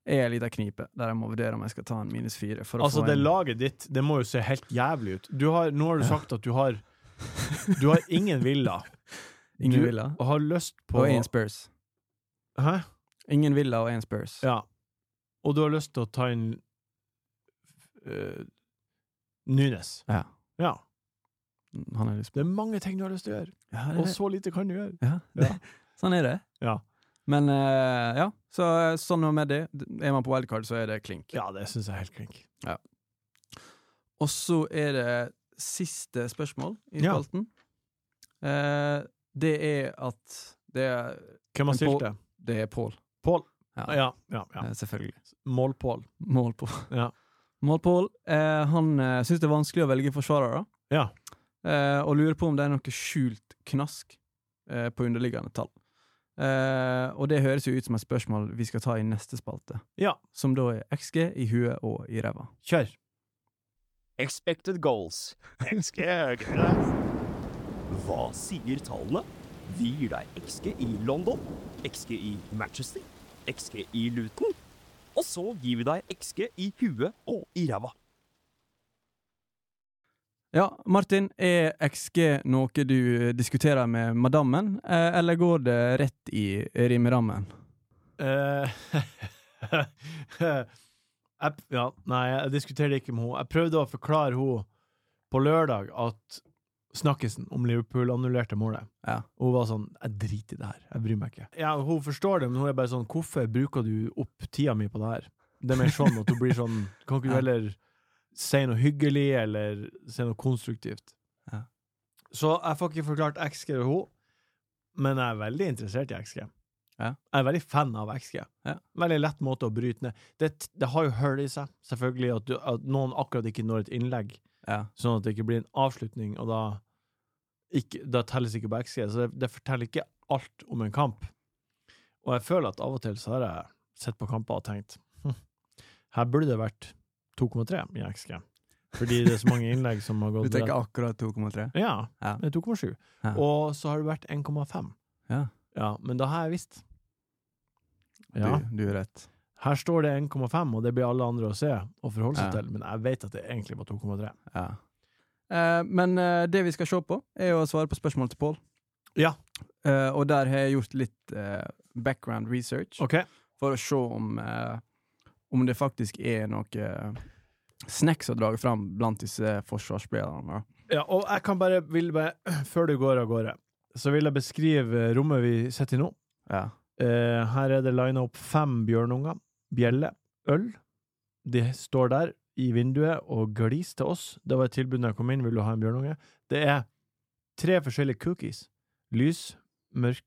Speaker 2: jeg er i ei lita knipe der jeg må vurdere om jeg skal ta en minus fire. For å
Speaker 1: Altså,
Speaker 2: få
Speaker 1: det
Speaker 2: en...
Speaker 1: laget ditt, det må jo se helt jævlig ut. Du har, nå har du
Speaker 2: Ja.
Speaker 1: sagt at du har Du har ingen villa,
Speaker 2: Ingen
Speaker 1: Du-
Speaker 2: Villa
Speaker 1: og har lyst på
Speaker 2: og én Spurs.
Speaker 1: Hæ?
Speaker 2: Ingen Villa og én Spurs.
Speaker 1: Ja. Og du har lyst til å ta inn uh, Nunes.
Speaker 2: Ja.
Speaker 1: Ja.
Speaker 2: Han er litt
Speaker 1: Det er mange ting du har lyst til å gjøre,
Speaker 2: ja, det,
Speaker 1: og så lite kan du gjøre.
Speaker 2: ja, det, Sånn er det.
Speaker 1: Ja.
Speaker 2: Men eh, ja, så eh, sånn og med det. Er man på wildcard, så er det klink.
Speaker 1: Ja, det syns jeg er helt klink.
Speaker 2: Og så er det siste spørsmål i
Speaker 1: Ja.
Speaker 2: spalten. Eh, det er at det er,
Speaker 1: Hvem
Speaker 2: Men
Speaker 1: har stilt det?
Speaker 2: det er Pål.
Speaker 1: Pål.
Speaker 2: Ja,
Speaker 1: Ja, ja. ja.
Speaker 2: eh, selvfølgelig.
Speaker 1: Mål-Pål.
Speaker 2: Mål på.
Speaker 1: Ja.
Speaker 2: Mål Pål. Eh, han eh, syns det er vanskelig å velge forsvarere.
Speaker 1: Ja.
Speaker 2: Eh, og lurer på om det er noe skjult knask eh, på underliggende tall. Eh, og det høres jo ut som et spørsmål vi skal ta i neste spalte.
Speaker 1: Ja.
Speaker 2: Som da er XG i huet og i ræva.
Speaker 1: Kjør.
Speaker 3: Expected goals. Hva sier tallene? Vi gir deg XG i London, XG i Manchester, XG i Luton. Og så gir vi deg XG i huet og i ræva.
Speaker 2: Ja, Martin, er XG noe du diskuterer med madammen, eh, eller går det rett i rimerammen?
Speaker 1: Eh, jeg, ja, nei, jeg diskuterer det ikke med henne. Jeg prøvde å forklare henne på lørdag at snakkisen om Liverpool annullerte målet.
Speaker 2: Ja.
Speaker 1: Og hun var sånn 'Jeg driter i det her. Jeg bryr meg ikke'. Ja, Hun forstår det, men hun er bare sånn 'Hvorfor bruker du opp tida mi på det her?' Det er mer sånn at hun blir sånn Kan ikke du
Speaker 2: Ja.
Speaker 1: heller si noe hyggelig, eller si noe konstruktivt?
Speaker 2: Ja.
Speaker 1: Så jeg får ikke forklart XG til henne, men jeg er veldig interessert i XG. Jeg er veldig fan av XG.
Speaker 2: Ja.
Speaker 1: Veldig lett måte å bryte ned. Det, det har jo hull i seg, selvfølgelig, at, du, at noen akkurat ikke når et innlegg,
Speaker 2: Ja.
Speaker 1: sånn at det ikke blir en avslutning, og da, ikke, da telles ikke på XG. Så det, det forteller ikke alt om en kamp. Og jeg føler at av og til så har jeg sett på kamper og tenkt hm, her burde det vært 2,3 i XG, fordi det er så mange innlegg som har
Speaker 2: Du
Speaker 1: gått
Speaker 2: tenker akkurat 2,3?
Speaker 1: Ja,
Speaker 2: Ja.
Speaker 1: det er 2,7.
Speaker 2: Ja.
Speaker 1: Og så har det vært 1,5.
Speaker 2: Ja.
Speaker 1: Ja, men da har jeg visst.
Speaker 2: Du,
Speaker 1: Ja.
Speaker 2: du er rett.
Speaker 1: Her står det 1,5, og det blir alle andre å se og forholde seg
Speaker 2: Ja.
Speaker 1: til, men jeg vet at det egentlig var 2,3.
Speaker 2: Ja. Eh, men eh, det vi skal se på, er jo å svare på spørsmål til Pål.
Speaker 1: Ja.
Speaker 2: Eh, og der har jeg gjort litt eh, background research
Speaker 1: Ok.
Speaker 2: for å se om, eh, om det faktisk er noe eh, snacks å dra fram blant disse forsvarsspillerne. da.
Speaker 1: Ja, og jeg kan bare, vil bare, før du går av gårde, så vil jeg beskrive rommet vi sitter i nå.
Speaker 2: Ja.
Speaker 1: Eh, her er det lina opp fem bjørnunger, bjelle, øl. De står der i vinduet og gliser til oss. Det var et tilbud da jeg kom inn, vil du ha en bjørnunge? Det er tre forskjellige cookies. Lys, mørk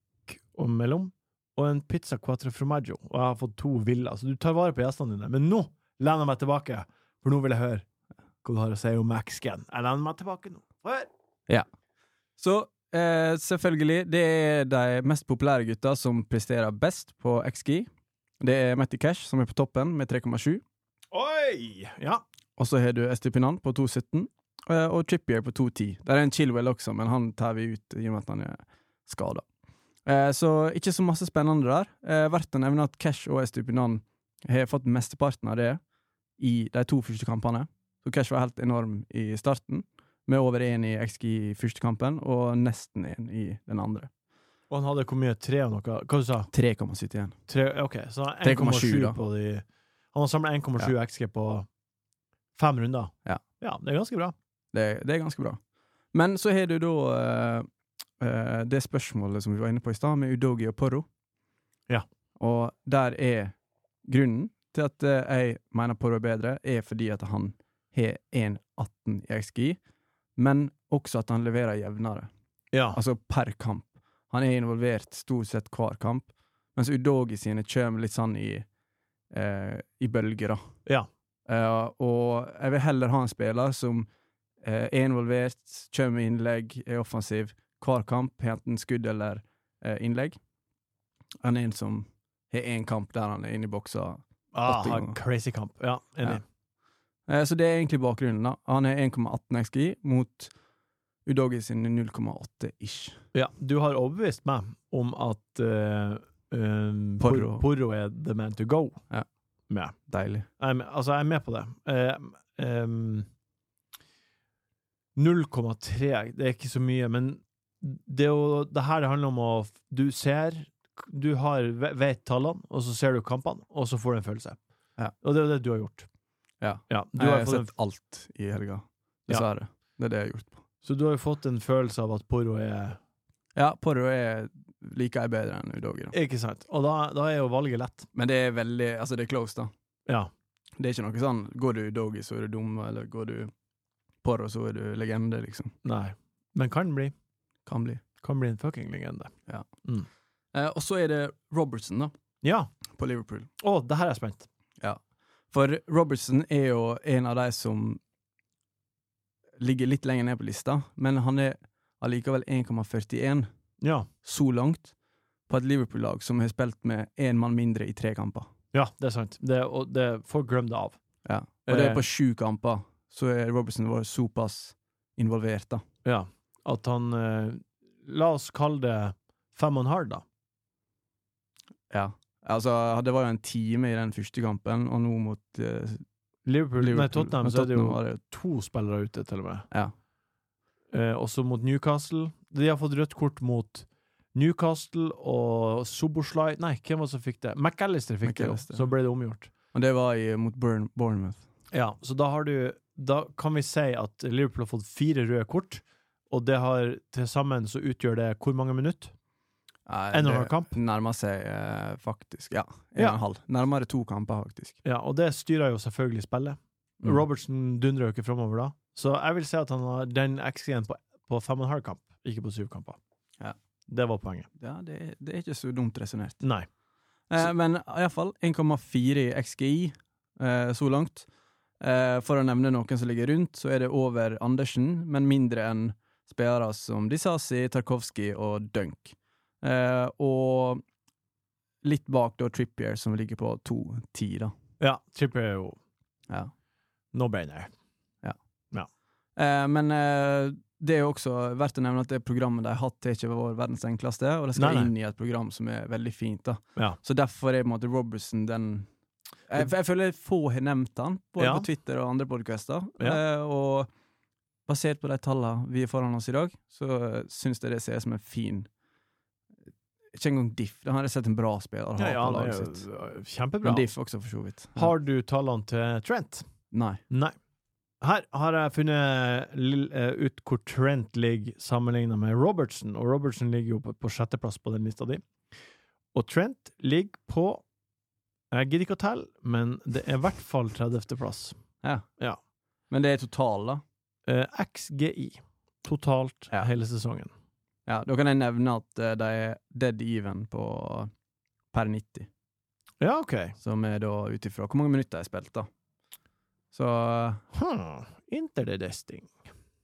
Speaker 1: og mellom, og en pizza quattro formaggio. Og jeg har fått to villa, så du tar vare på gjestene dine. Men nå lener jeg meg tilbake, for nå vil jeg høre hva du har å si om Max-gen. Jeg lener meg tilbake nå. Hør!
Speaker 2: Så eh, selvfølgelig, det er de mest populære gutta som presterer best på XG. Det er Matty Cash, som er på toppen, med 3,7.
Speaker 1: Oi! Ja.
Speaker 2: Og så har du Estipinan på 2,17, eh, og Trippier på 2,10. Der er en Chilwell også, men han tar vi ut i og med at han er skada. Eh, så ikke så masse spennende der. Eh, verdt å nevne at Cash og Estipinan har fått mesteparten av det i de to første kampene. Så Cash var helt enorm i starten, med over én i XG i første kampen, og nesten én i den andre.
Speaker 1: Og han hadde hvor mye? Tre og noe? Hva du sa
Speaker 2: 3,71.
Speaker 1: Tre, ok, så han har
Speaker 2: 3,7 da.
Speaker 1: 1,7 på de Han har samla 1,7 XG på fem runder.
Speaker 2: Ja.
Speaker 1: det er ganske bra.
Speaker 2: Det, det er ganske bra. Men så har du da eh, eh, det spørsmålet som vi var inne på i stad, med Udogi og Porro.
Speaker 1: Ja.
Speaker 2: Og der er grunnen til at eh, jeg mener Porro er bedre, er fordi at han har 1,18 i XGI, men også at han leverer jevnere,
Speaker 1: Ja.
Speaker 2: altså per kamp. Han er involvert stort sett hver kamp, mens Udogi sine kommer litt sånn i, eh, i bølger, da.
Speaker 1: ja.
Speaker 2: Eh, og jeg vil heller ha en spiller som eh, er involvert, kommer med innlegg, er offensiv hver kamp, enten skudd eller eh, innlegg, enn en som har én kamp der han er inne i boksa.
Speaker 1: Ah,
Speaker 2: Åtte
Speaker 1: ha
Speaker 2: ganger.
Speaker 1: crazy kamp. Ja, enig.
Speaker 2: Eh, så det er egentlig bakgrunnen. da. Han er 1,18 XGI mot Udogi sine 0,8 ish.
Speaker 1: Ja. Du har overbevist meg om at eh, eh, Por-
Speaker 2: Porro.
Speaker 1: Porro er the man to go.
Speaker 2: Ja.
Speaker 1: Med.
Speaker 2: Deilig.
Speaker 1: Jeg er med. Altså, jeg er med på det. Eh, em, 0,3 Det er ikke så mye, men det, er jo, det her det handler om å f- Du ser Du har, ve- vet tallene, og så ser du kampene, og så får du en følelse.
Speaker 2: Ja.
Speaker 1: Og det er jo det du har gjort.
Speaker 2: Ja.
Speaker 1: du har
Speaker 2: jeg har
Speaker 1: fått en,
Speaker 2: Eh, sett alt i helga,
Speaker 1: Ja.
Speaker 2: dessverre. Det er det jeg har gjort på.
Speaker 1: så du har jo fått en følelse av at Porro er
Speaker 2: Ja, Porro er liker jeg bedre enn Udogi, da.
Speaker 1: Ikke sant? Og da, da er jo valget lett.
Speaker 2: Men det er veldig Altså, det er close, da.
Speaker 1: Ja.
Speaker 2: Det er ikke noe sånn Går du doggy, så er du dum, eller går du porro, så er du legende, liksom.
Speaker 1: Nei. Men kan bli.
Speaker 2: Kan bli.
Speaker 1: Kan bli en fucking legende.
Speaker 2: Eh, og så er det Robertson, da,
Speaker 1: Ja.
Speaker 2: på Liverpool.
Speaker 1: Å, det her er jeg spent.
Speaker 2: For Robertson er jo en av de som ligger litt lenger ned på lista, men han er allikevel 1,41
Speaker 1: Ja.
Speaker 2: så langt på et Liverpool-lag som har spilt med én mann mindre i tre kamper.
Speaker 1: Ja, det er sant. Det, og det, folk glemmer det av.
Speaker 2: Ja. Og det
Speaker 1: Eh.
Speaker 2: er på sju kamper, så er Robertson vært såpass involvert, da.
Speaker 1: Ja, at han eh, La oss kalle det fem og en halv, da.
Speaker 2: Ja. Altså, det var jo en time i den første kampen, og nå mot eh,
Speaker 1: Liverpool, Nei, Tottenham,
Speaker 2: Men
Speaker 1: så er det jo
Speaker 2: var det-
Speaker 1: to spillere ute, til og med.
Speaker 2: Ja.
Speaker 1: Eh, også mot Newcastle. De har fått rødt kort mot Newcastle og Soboslai Nei, hvem var det som fikk det? McAllister fikk
Speaker 2: McAllister.
Speaker 1: det, jo. Så ble det omgjort.
Speaker 2: Og det var i, mot Burn, Bournemouth.
Speaker 1: Ja, så da har du Da kan vi si at Liverpool har fått fire røde kort, og det har til sammen så utgjør det hvor mange minutter?
Speaker 2: Nei,
Speaker 1: En og en
Speaker 2: det
Speaker 1: halv kamp?
Speaker 2: Nærmer seg eh, faktisk Ja, en
Speaker 1: Ja.
Speaker 2: og en halv. Nærmere to kamper, faktisk.
Speaker 1: Ja, og det styrer jo selvfølgelig spillet.
Speaker 2: Mm.
Speaker 1: Robertson dundrer jo ikke framover da. Så jeg vil si at han har den XG-en på, på fem og en halv kamp, ikke på syv kamper.
Speaker 2: Ja.
Speaker 1: Det var poenget.
Speaker 2: Ja, det, er- det er ikke så dumt resonnert.
Speaker 1: Nei.
Speaker 2: Eh, men iallfall 1,4 i XGI eh, så langt. Eh, for å nevne noen som ligger rundt, så er det over Andersen, men mindre enn spillere som Disasi, Tarkovskij og Dunk. Eh, og litt bak da Trippier, som ligger på 2,10, da.
Speaker 1: Ja, Tripper er jo
Speaker 2: Ja.
Speaker 1: no brainer.
Speaker 2: Eh, men eh, det er jo også verdt å nevne at det programmet de har hatt, er ikke vår verdens enkleste, og det skal
Speaker 1: Nei, nei.
Speaker 2: inn i et program som er veldig fint. da.
Speaker 1: Ja.
Speaker 2: Så derfor er på en måte Robertson den jeg, jeg føler få har nevnt han, både
Speaker 1: Ja.
Speaker 2: på Twitter og andre podkaster.
Speaker 1: Ja.
Speaker 2: Eh, og basert på de tallene vi har foran oss i dag, så eh, syns jeg det ser ut som en fin Ikke engang diff. Da har jeg sett en bra spiller ha
Speaker 1: Ja, ja,
Speaker 2: på
Speaker 1: det
Speaker 2: laget
Speaker 1: er
Speaker 2: sitt.
Speaker 1: jo kjempebra.
Speaker 2: Men diff også, for så vidt. Ja.
Speaker 1: Har du tallene til Trent?
Speaker 2: Nei.
Speaker 1: Nei. Her har jeg funnet lill- eh, ut hvor Trent ligger sammenlignet med Robertson, og Robertson ligger jo på, på sjetteplass på den lista di. Og Trent ligger på Jeg gidder ikke å telle, men det er i hvert fall 30.-plass.
Speaker 2: Ja.
Speaker 1: Ja.
Speaker 2: Men det er total, da.
Speaker 1: Eh, XGI totalt
Speaker 2: Ja.
Speaker 1: hele sesongen.
Speaker 2: Ja, da kan jeg nevne at eh, de er dead even på per 90,
Speaker 1: Ja, OK.
Speaker 2: som er da ut ifra hvor mange minutter de har spilt, da. Så eh,
Speaker 1: Hmm. Interdesting.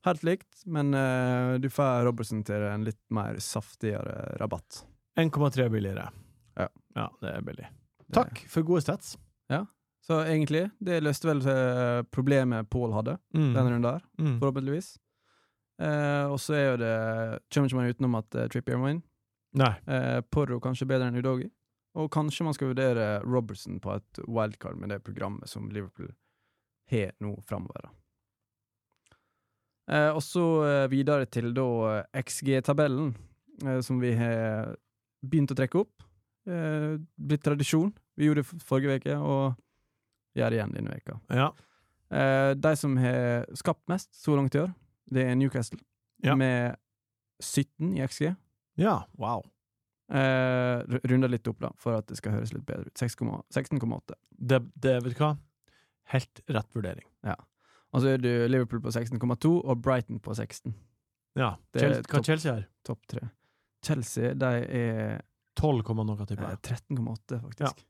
Speaker 2: helt likt, men eh, du får Robertson til en litt mer saftigere rabatt.
Speaker 1: 1,3 billigere.
Speaker 2: Ja.
Speaker 1: det er billig.
Speaker 2: Det-
Speaker 1: Takk for gode stats.
Speaker 2: Så egentlig, det løste vel eh, problemet Pål hadde denne runden her,
Speaker 1: Mm.
Speaker 2: forhåpentligvis. Eh, og så er jo det Kommer ikke man utenom at eh, Trippier må inn.
Speaker 1: Nei.
Speaker 2: Eh, Porro kanskje bedre enn Udogi. Og kanskje man skal vurdere Robertson på et wildcard med det programmet som Liverpool har nå framover. Eh, og så eh, videre til da eh, XG-tabellen, eh, som vi har begynt å trekke opp. Eh, blitt tradisjon. Vi gjorde det f- forrige uke, og gjør det igjen denne veka.
Speaker 1: Ja.
Speaker 2: Eh, de som har skapt mest så langt i år, det er Newcastle,
Speaker 1: Ja.
Speaker 2: med 17 i XG.
Speaker 1: ja. Wow.
Speaker 2: Eh, ru- Runda litt opp, da, for at det skal høres litt bedre ut. 6,8 16,8.
Speaker 1: Det, det, vet du hva? Helt rett vurdering.
Speaker 2: Og så er du Liverpool på 16,2 og Brighton på 16.
Speaker 1: Ja.
Speaker 2: Det
Speaker 1: Chel
Speaker 2: er
Speaker 1: hva
Speaker 2: topp.
Speaker 1: Chelsea har?
Speaker 2: Topp tre. Chelsea de er
Speaker 1: 12, komma noe, tipper
Speaker 2: eh,
Speaker 1: jeg.
Speaker 2: 13,8, faktisk.
Speaker 1: Ja.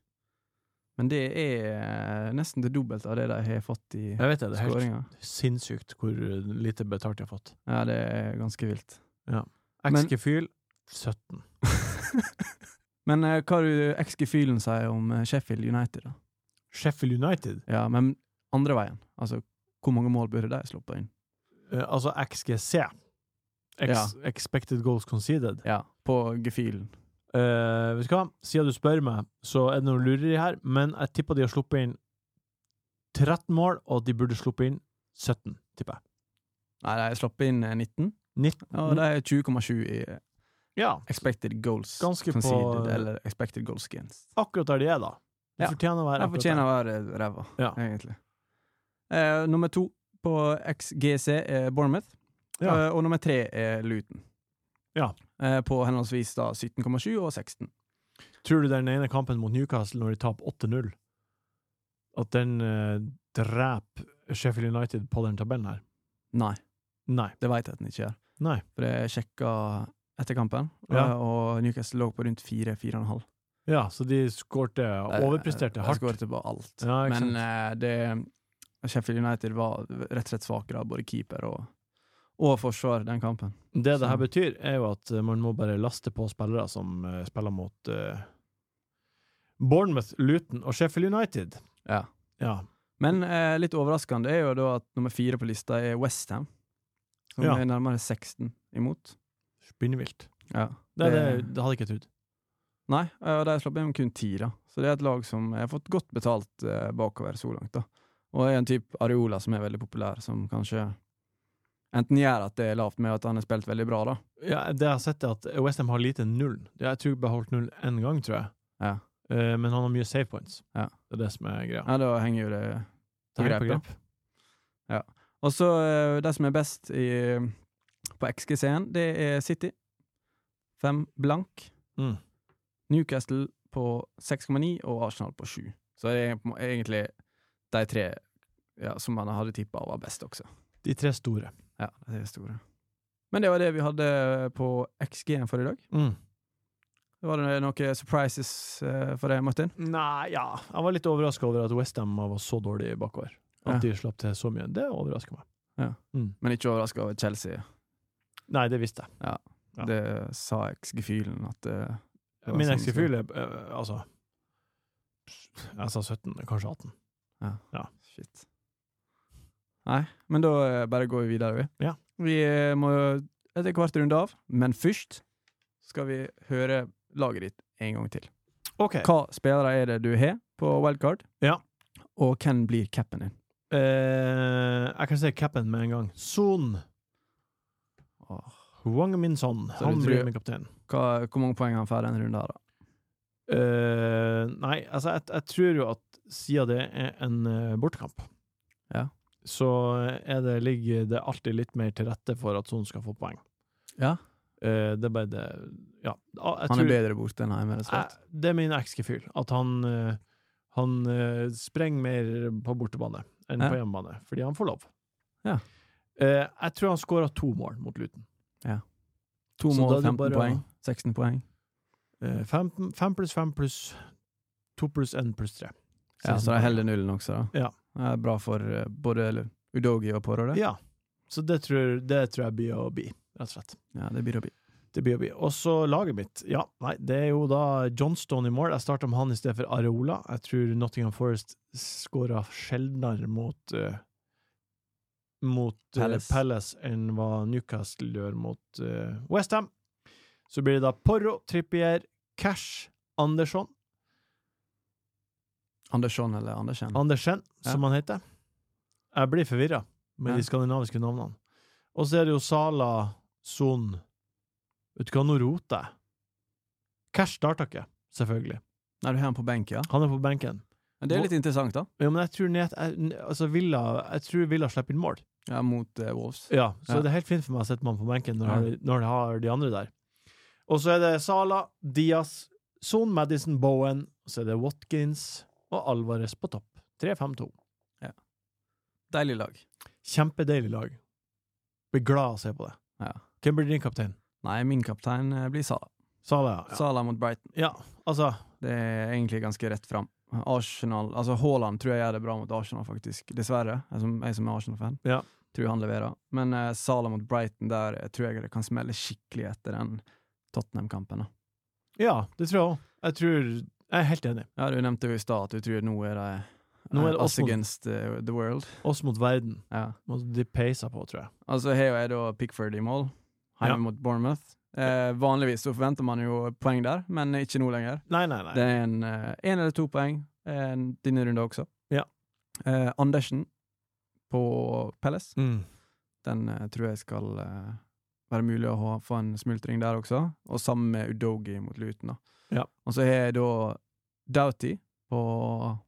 Speaker 2: Men det er eh, nesten det dobbelte av det de har fått i
Speaker 1: Jeg vet det. Det er helt
Speaker 2: skåringa.
Speaker 1: sinnssykt hvor eh, lite betalt de har fått.
Speaker 2: Ja, det er ganske vilt. Men-
Speaker 1: Ex-gefyl 17.
Speaker 2: Men eh, hva du XG-fylen sier om eh, Sheffield United, da?
Speaker 1: Sheffield United,
Speaker 2: Ja, men andre veien. Altså, hvor mange mål burde de sluppet inn?
Speaker 1: eh, altså XGC, Ex
Speaker 2: Ja.
Speaker 1: Expected Goals Conceded
Speaker 2: Ja, på gefühlen.
Speaker 1: Eh, Vet du hva? Siden du spør meg, så er det noe lureri her, men jeg tipper de har sluppet inn 13 mål, og de burde sluppet inn 17, tipper jeg.
Speaker 2: Nei, de har sluppet inn eh, 19.
Speaker 1: 19.
Speaker 2: Ja, det er 20,7 i
Speaker 1: Ja,
Speaker 2: expected goals
Speaker 1: Ganske på-
Speaker 2: conceded, eller expected goals against.
Speaker 1: akkurat der de er, da. De
Speaker 2: Ja.
Speaker 1: fortjener å være
Speaker 2: Jeg
Speaker 1: akkurat
Speaker 2: fortjener å være ræva,
Speaker 1: Ja.
Speaker 2: egentlig. Eh, nummer to på XGC er Bournemouth,
Speaker 1: Ja.
Speaker 2: eh, og nummer tre er Luton.
Speaker 1: Ja.
Speaker 2: Eh, på henholdsvis da 17,7 og 16.
Speaker 1: der. Tror du den ene kampen mot Newcastle, når de taper 8-0, at den eh, dreper Sheffield United på den tabellen her?
Speaker 2: Nei,
Speaker 1: Nei.
Speaker 2: det veit jeg at den ikke gjør.
Speaker 1: Nei.
Speaker 2: For jeg sjekka etter kampen,
Speaker 1: Ja.
Speaker 2: eh, og Newcastle lå på rundt 4-4,5.
Speaker 1: Ja, så de skårte overpresterte hardt.
Speaker 2: Skåret på alt.
Speaker 1: Ja, ikke
Speaker 2: Men
Speaker 1: sant?
Speaker 2: eh, det Sheffield United var rett og slett svakere, av både keeper og, og forsvar, den kampen.
Speaker 1: Det det her
Speaker 2: Så-
Speaker 1: betyr, er jo at eh, man må bare laste på spillere som eh, spiller mot eh, Bournemouth, Luton og Sheffield United.
Speaker 2: Ja.
Speaker 1: Ja.
Speaker 2: Men eh, litt overraskende er jo da at nummer fire på lista er Westham, som
Speaker 1: Ja.
Speaker 2: er nærmere 16 imot.
Speaker 1: Spinnvilt.
Speaker 2: Ja.
Speaker 1: Det, det, det hadde jeg ikke trodd.
Speaker 2: Nei, eh, og de slapp inn kun ti, da. Så det er et lag som har fått godt betalt eh, bakover så langt, da. Og er en type Areola som er veldig populær, som kanskje enten gjør at det er lavt med at han har spilt veldig bra, da.
Speaker 1: Ja, det jeg har sett, er at Westham har lite null. Jeg tror jeg beholdt null én gang, tror jeg.
Speaker 2: Ja.
Speaker 1: Eh, men han har mye save points.
Speaker 2: Ja.
Speaker 1: Det er det som er greia.
Speaker 2: Ja, da henger jo det
Speaker 1: Det er
Speaker 2: grep,
Speaker 1: på
Speaker 2: ja.
Speaker 1: grep.
Speaker 2: Og så eh, de som er best i, på XGC-en, det er City. Fem blank.
Speaker 1: Mm.
Speaker 2: Newcastle på 6,9 og Arsenal på 7. Så det er på en må- egentlig de tre ja, som man hadde tippa var best også.
Speaker 1: De tre store.
Speaker 2: Ja, det er store. Men det var det vi hadde på XG-en for i dag.
Speaker 1: Mm.
Speaker 2: Var det noen surprises eh, for deg, Martin?
Speaker 1: Nei, ja Jeg var litt overraska over at Westham var så dårlig bakover. At
Speaker 2: Ja.
Speaker 1: de slapp til så mye. Det overrasker meg.
Speaker 2: Men ikke overraska over Chelsea.
Speaker 1: Nei, det visste jeg. Ja.
Speaker 2: Det sa XG-fylen at eh, Det var
Speaker 1: Min
Speaker 2: sånn
Speaker 1: ex-gefühl er eh, altså Jeg sa 17, kanskje 18.
Speaker 2: Shit. Nei, men da eh, bare går vi videre, vi.
Speaker 1: Ja.
Speaker 2: Vi eh, må etter hvert runde av, men først skal vi høre laget ditt en gang til.
Speaker 1: OK.
Speaker 2: Hva spillere er det du har på wildcard?
Speaker 1: Eh. Ja.
Speaker 2: Og hvem blir capen din?
Speaker 1: eh, jeg kan se capen med en gang. Son Wang Min Son.
Speaker 2: Så
Speaker 1: Han
Speaker 2: du
Speaker 1: blir
Speaker 2: tror-
Speaker 1: min kaptein.
Speaker 2: Hva, hvor mange poeng han får denne runden her, da?
Speaker 1: Eh, nei, altså, jeg, jeg tror jo at siden det er en eh, bortekamp,
Speaker 2: Ja.
Speaker 1: så er det, ligger det alltid litt mer til rette for at Son skal få poeng.
Speaker 2: Ja.
Speaker 1: Eh, det er bare det Ja. Ah, Jeg
Speaker 2: Han
Speaker 1: tror- Eh,
Speaker 2: er bedre borte enn hjemme, rett og slett.
Speaker 1: jeg- Det er min eks-gefühl. At han, eh, han eh, sprenger mer på bortebane enn
Speaker 2: Ja.
Speaker 1: på hjemmebane, fordi han får lov.
Speaker 2: Ja.
Speaker 1: Eh, jeg tror han skåra to mål mot Luton.
Speaker 2: To
Speaker 1: så da
Speaker 2: mål,
Speaker 1: er det
Speaker 2: 15
Speaker 1: bare å-
Speaker 2: poeng. 16 poeng.
Speaker 1: Eh, fem, fem pluss fem pluss to pluss én pluss tre.
Speaker 2: Ja, så de holder nullen også, da.
Speaker 1: Ja.
Speaker 2: Det er bra for eh, både Udogi og Pårørende.
Speaker 1: Ja. Så det tror, det tror jeg blir å bli, rett og slett.
Speaker 2: Ja, det blir å bli.
Speaker 1: Det blir å bli. Og så laget mitt. Ja, nei, det er jo da Johnstone i mål. Jeg starta med han i stedet for Areola. Jeg tror Nottingham Forest skåra sjeldnere mot eh, mot eh,
Speaker 2: Palace.
Speaker 1: Palace enn hva Newcastle gjør mot eh, West Westham. Så blir det da Porro, Trippier, Cash, Andersson,
Speaker 2: Andersson eller Andersen.
Speaker 1: Andersen,
Speaker 2: Ja.
Speaker 1: som han heter. Jeg blir forvirra med
Speaker 2: Ja.
Speaker 1: de skandinaviske navnene. Og så er det jo Sala, Son Vet du hva, nå roter jeg. Cash starta ikke, selvfølgelig.
Speaker 2: Nei, du har han på benk, ja.
Speaker 1: Han er på benken.
Speaker 2: Men det er litt interessant, da.
Speaker 1: Ja, men jeg tror, ned, jeg, altså Villa, jeg tror Villa slipper inn mål.
Speaker 2: Ja, Mot eh, Wolves.
Speaker 1: Ja, så
Speaker 2: Ja.
Speaker 1: det er helt fint for meg å sette mannen på benken når,
Speaker 2: Ja.
Speaker 1: jeg- når jeg har de andre der. Og så er det Sala, Diaz, Son Madison, Bowen, og så er det Watkins og Alvarez på topp. 3-5-2.
Speaker 2: Deilig lag.
Speaker 1: Kjempedeilig lag. Blir glad av å se på det.
Speaker 2: Ja.
Speaker 1: Hvem blir din kaptein?
Speaker 2: Nei, min kaptein eh, blir Sala.
Speaker 1: Sala, ja.
Speaker 2: Sala mot Brighton.
Speaker 1: ja. Altså,
Speaker 2: Det er egentlig ganske rett fram. Arsenal, altså Haaland tror jeg gjør det bra mot Arsenal, faktisk. Dessverre. Jeg som, jeg som er Arsenal-fan,
Speaker 1: Ja.
Speaker 2: tror han leverer. Men eh, Sala mot Brighton, der eh, tror jeg det kan smelle skikkelig etter den Tottenham-kampen. da.
Speaker 1: ja, det tror jeg òg. Jeg tror Jeg er helt enig.
Speaker 2: Ja, Du nevnte jo i stad at du tror nå er det
Speaker 1: Nå er det
Speaker 2: eh,
Speaker 1: oss
Speaker 2: us
Speaker 1: mot-
Speaker 2: against eh, the world.
Speaker 1: Oss mot verden.
Speaker 2: Ja.
Speaker 1: Må de peise på, tror jeg.
Speaker 2: Altså har jo jeg da Pickford i mål, hjemme
Speaker 1: Ja.
Speaker 2: mot Bournemouth. Eh, vanligvis så forventer man jo poeng der, men ikke nå lenger.
Speaker 1: Nei, nei, nei.
Speaker 2: Det er en, eh, en eller to poeng eh, denne runden også.
Speaker 1: Ja.
Speaker 2: Eh, Andersen på Palace,
Speaker 1: Mm.
Speaker 2: den eh, tror jeg skal eh, være mulig å ha, få en smultring der også. Og sammen med Udogi mot Luton. da.
Speaker 1: Ja.
Speaker 2: Og så har jeg da Doughty på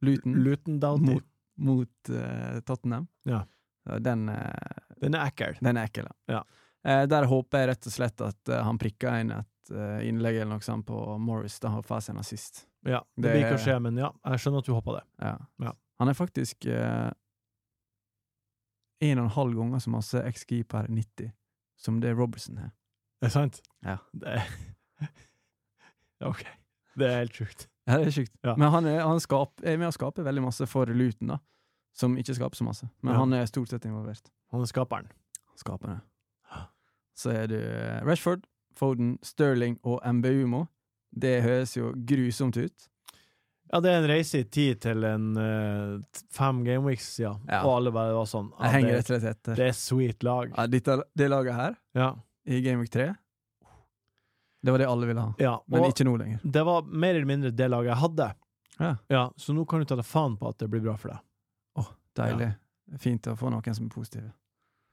Speaker 2: Luton
Speaker 1: Luton Doughty.
Speaker 2: mot, mot eh, Tottenham.
Speaker 1: Ja.
Speaker 2: Eh, Den, eh,
Speaker 1: Den er ekkel.
Speaker 2: den er ekkel,
Speaker 1: Ja.
Speaker 2: Eh, der håper jeg rett og slett at eh, han prikker inn et eh, innlegg eller noe sånt på Morris. Da har Fasen assist.
Speaker 1: Ja, det,
Speaker 2: Det-
Speaker 1: blir ikke å skje, men ja, jeg skjønner at du håper det.
Speaker 2: Ja.
Speaker 1: Ja.
Speaker 2: Han er faktisk eh, en og en halv ganger så masse XG per 90 som det Robertson har.
Speaker 1: Er det sant?
Speaker 2: Ja.
Speaker 1: Det er... ok. Det er helt sjukt.
Speaker 2: Ja, det er sjukt.
Speaker 1: Ja.
Speaker 2: Men han, er, han skap, er med å skape veldig masse for Luton, da. Som ikke skaper så masse. Men
Speaker 1: Ja.
Speaker 2: han er stort sett involvert.
Speaker 1: Han er skaperen.
Speaker 2: Skaper det.
Speaker 1: Ja.
Speaker 2: Så er det eh, Rashford, Foden, Sterling og MBUMO. Det høres jo grusomt ut.
Speaker 1: Ja, det er en reise i tid til en eh, t- fem gameweeks siden,
Speaker 2: Ja.
Speaker 1: og alle bare var sånn
Speaker 2: Jeg henger
Speaker 1: det,
Speaker 2: rett og slett etter.
Speaker 1: det er sweet lag.
Speaker 2: Ja, dette, det laget her,
Speaker 1: Ja.
Speaker 2: i Game Week 3, det var det alle ville ha.
Speaker 1: ja.
Speaker 2: Men
Speaker 1: Og
Speaker 2: ikke nå lenger.
Speaker 1: det var mer eller mindre det laget jeg hadde.
Speaker 2: Ja.
Speaker 1: så nå kan du ta deg faen på at det blir bra for deg.
Speaker 2: Deilig. Fint å få noen som er positive.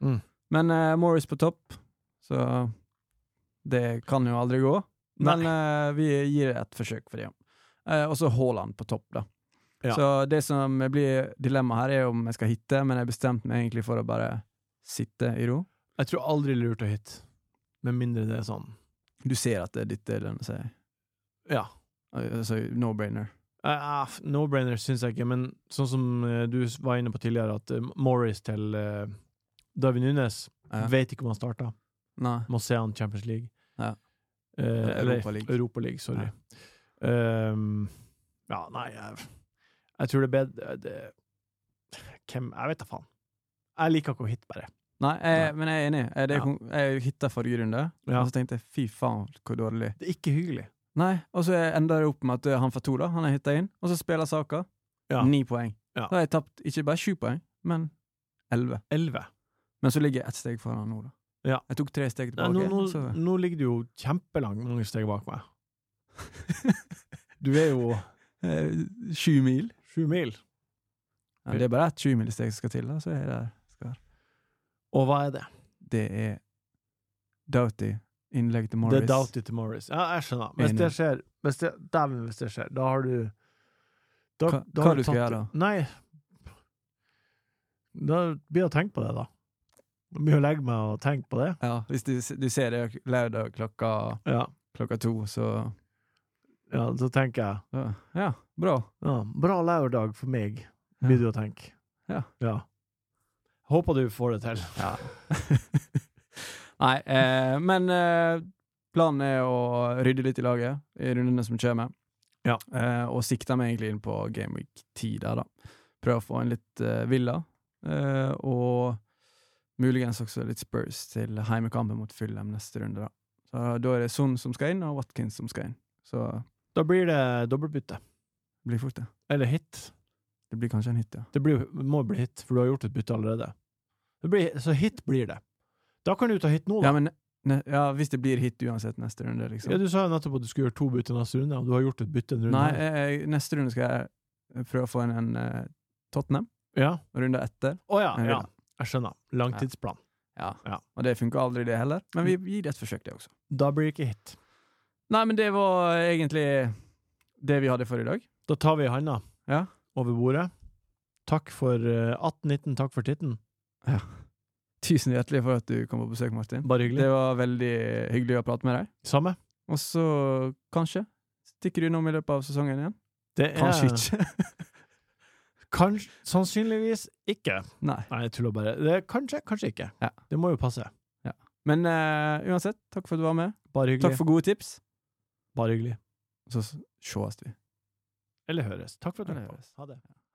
Speaker 1: Mm.
Speaker 2: Men eh, Morris på topp, så det kan jo aldri gå. Men eh, vi gir det et forsøk for det. Eh, og så Haaland på topp, da.
Speaker 1: Ja.
Speaker 2: Så det som blir dilemmaet her, er om jeg skal hitte, men jeg bestemte meg egentlig for å bare sitte i ro.
Speaker 1: Jeg tror aldri det er lurt å hit, med mindre det er sånn.
Speaker 2: Du ser at det er ditt det lønner seg.
Speaker 1: Ja.
Speaker 2: Altså no-brainer.
Speaker 1: Eh, f- No-brainer syns jeg ikke, men sånn som eh, du s- var inne på tidligere, at eh, Morris til eh, David Nunes
Speaker 2: Ja.
Speaker 1: Vet ikke om han starta.
Speaker 2: Eh, Nei.
Speaker 1: Må se han Champions League.
Speaker 2: Ja.
Speaker 1: Eh, eller
Speaker 2: Europa League.
Speaker 1: Europa League, sorry. Ehm, ja, nei jeg, jeg tror det er bedre det, Hvem Jeg vet da faen. Jeg liker ikke å hit, bare.
Speaker 2: Nei, jeg, men jeg er enig. Jeg, det,
Speaker 1: Ja.
Speaker 2: kon- jeg hitta forrige runde,
Speaker 1: Ja.
Speaker 2: og så tenkte jeg fy faen, hvor dårlig
Speaker 1: Det er ikke hyggelig.
Speaker 2: Nei, og så ender det opp med at eh, han får to, da. Han er hytta inn. Og så spiller Saka.
Speaker 1: Ja.
Speaker 2: Ni poeng.
Speaker 1: Ja.
Speaker 2: Da har jeg tapt ikke bare sju poeng, men elleve.
Speaker 1: Elleve.
Speaker 2: Men så ligger jeg ett steg foran nå, da.
Speaker 1: Ja.
Speaker 2: Jeg tok tre steg
Speaker 1: Nei,
Speaker 2: tilbake.
Speaker 1: nå, nå,
Speaker 2: så...
Speaker 1: nå ligger du jo kjempelangt mange steg bak meg. Du er jo
Speaker 2: Eh, Sju mil.
Speaker 1: sju mil.
Speaker 2: Ja, det er bare ett sjumilssteg som skal til, da, så er jeg der. jeg Skal. være.
Speaker 1: Og hva er det?
Speaker 2: Det er Doughty. Innlegg til
Speaker 1: Det
Speaker 2: Morris.
Speaker 1: er Doughty til Morris. Ja, jeg skjønner. Hvis
Speaker 2: Enig.
Speaker 1: det skjer, hvis det, dæven hvis det skjer, da har du da,
Speaker 2: Hva-
Speaker 1: da
Speaker 2: hva
Speaker 1: har
Speaker 2: du skal
Speaker 1: tatt-
Speaker 2: gjøre da?
Speaker 1: Nei, Da blir det å tenke på det, da. Det blir å legge meg og tenke på det.
Speaker 2: Ja, hvis du, du ser det lørdag klokka,
Speaker 1: Ja,
Speaker 2: klokka to, så
Speaker 1: ja så tenker jeg
Speaker 2: så- Ja, bra.
Speaker 1: ja, Bra lørdag for meg, blir du å tenke.
Speaker 2: Ja.
Speaker 1: Håper du får det til.
Speaker 2: Nei, eh, men eh, planen er å rydde litt i laget i rundene som kommer.
Speaker 1: Ja.
Speaker 2: Eh, og sikter meg egentlig inn på Game Week 10 der, da. Prøve å få en litt eh, Villa, eh, og muligens også litt Spurs til heimekampen mot Fulham neste runde, da. Så eh, da er det Son som skal inn, og Watkins som skal inn. Så
Speaker 1: Da blir det dobbeltbytte.
Speaker 2: det blir fort, det.
Speaker 1: Eller hit.
Speaker 2: Det blir kanskje en hit, ja.
Speaker 1: Det blir, må bli hit, for du har gjort et bytte allerede. Det blir, så hit blir det. Da kan du ta hit nå,
Speaker 2: Ja,
Speaker 1: da.
Speaker 2: men ne, ja, hvis det blir hit uansett neste runde, liksom.
Speaker 1: Ja, du sa jo nettopp at du skulle gjøre to bytter neste runde, og du har gjort et bytte en runde.
Speaker 2: Nei,
Speaker 1: her.
Speaker 2: eh, neste runde skal jeg prøve å få inn en eh, Tottenham.
Speaker 1: ja.
Speaker 2: Runden etter.
Speaker 1: Å ja,
Speaker 2: En
Speaker 1: ja.
Speaker 2: Villa.
Speaker 1: Jeg skjønner. Langtidsplan.
Speaker 2: Ja.
Speaker 1: Ja.
Speaker 2: Og det funka aldri, det heller. Men vi gir det et forsøk, det også.
Speaker 1: Da blir det ikke hit.
Speaker 2: Nei, men det var egentlig det vi hadde for i dag.
Speaker 1: Da tar vi handa
Speaker 2: Ja.
Speaker 1: over bordet. Takk for eh, 1819, takk for titten.
Speaker 2: Tusen hjertelig for at du kom på besøk, Martin.
Speaker 1: Bare
Speaker 2: Det
Speaker 1: hyggelig.
Speaker 2: var veldig hyggelig å prate med deg.
Speaker 1: Samme.
Speaker 2: Og så kanskje stikker du innom i løpet av sesongen igjen.
Speaker 1: Det er
Speaker 2: Kanskje ikke.
Speaker 1: Kanskje, sannsynligvis ikke.
Speaker 2: Nei.
Speaker 1: Nei, jeg tuller bare. Det er kanskje, kanskje ikke.
Speaker 2: Ja.
Speaker 1: Det må jo passe.
Speaker 2: Men eh, uansett, takk for at du var med.
Speaker 1: Bare hyggelig.
Speaker 2: Takk for gode tips.
Speaker 1: Bare hyggelig.
Speaker 2: Så s- sees vi.
Speaker 1: Eller høres. Takk for at du
Speaker 2: Eller
Speaker 1: hørte på.
Speaker 2: høres.
Speaker 1: Ha det.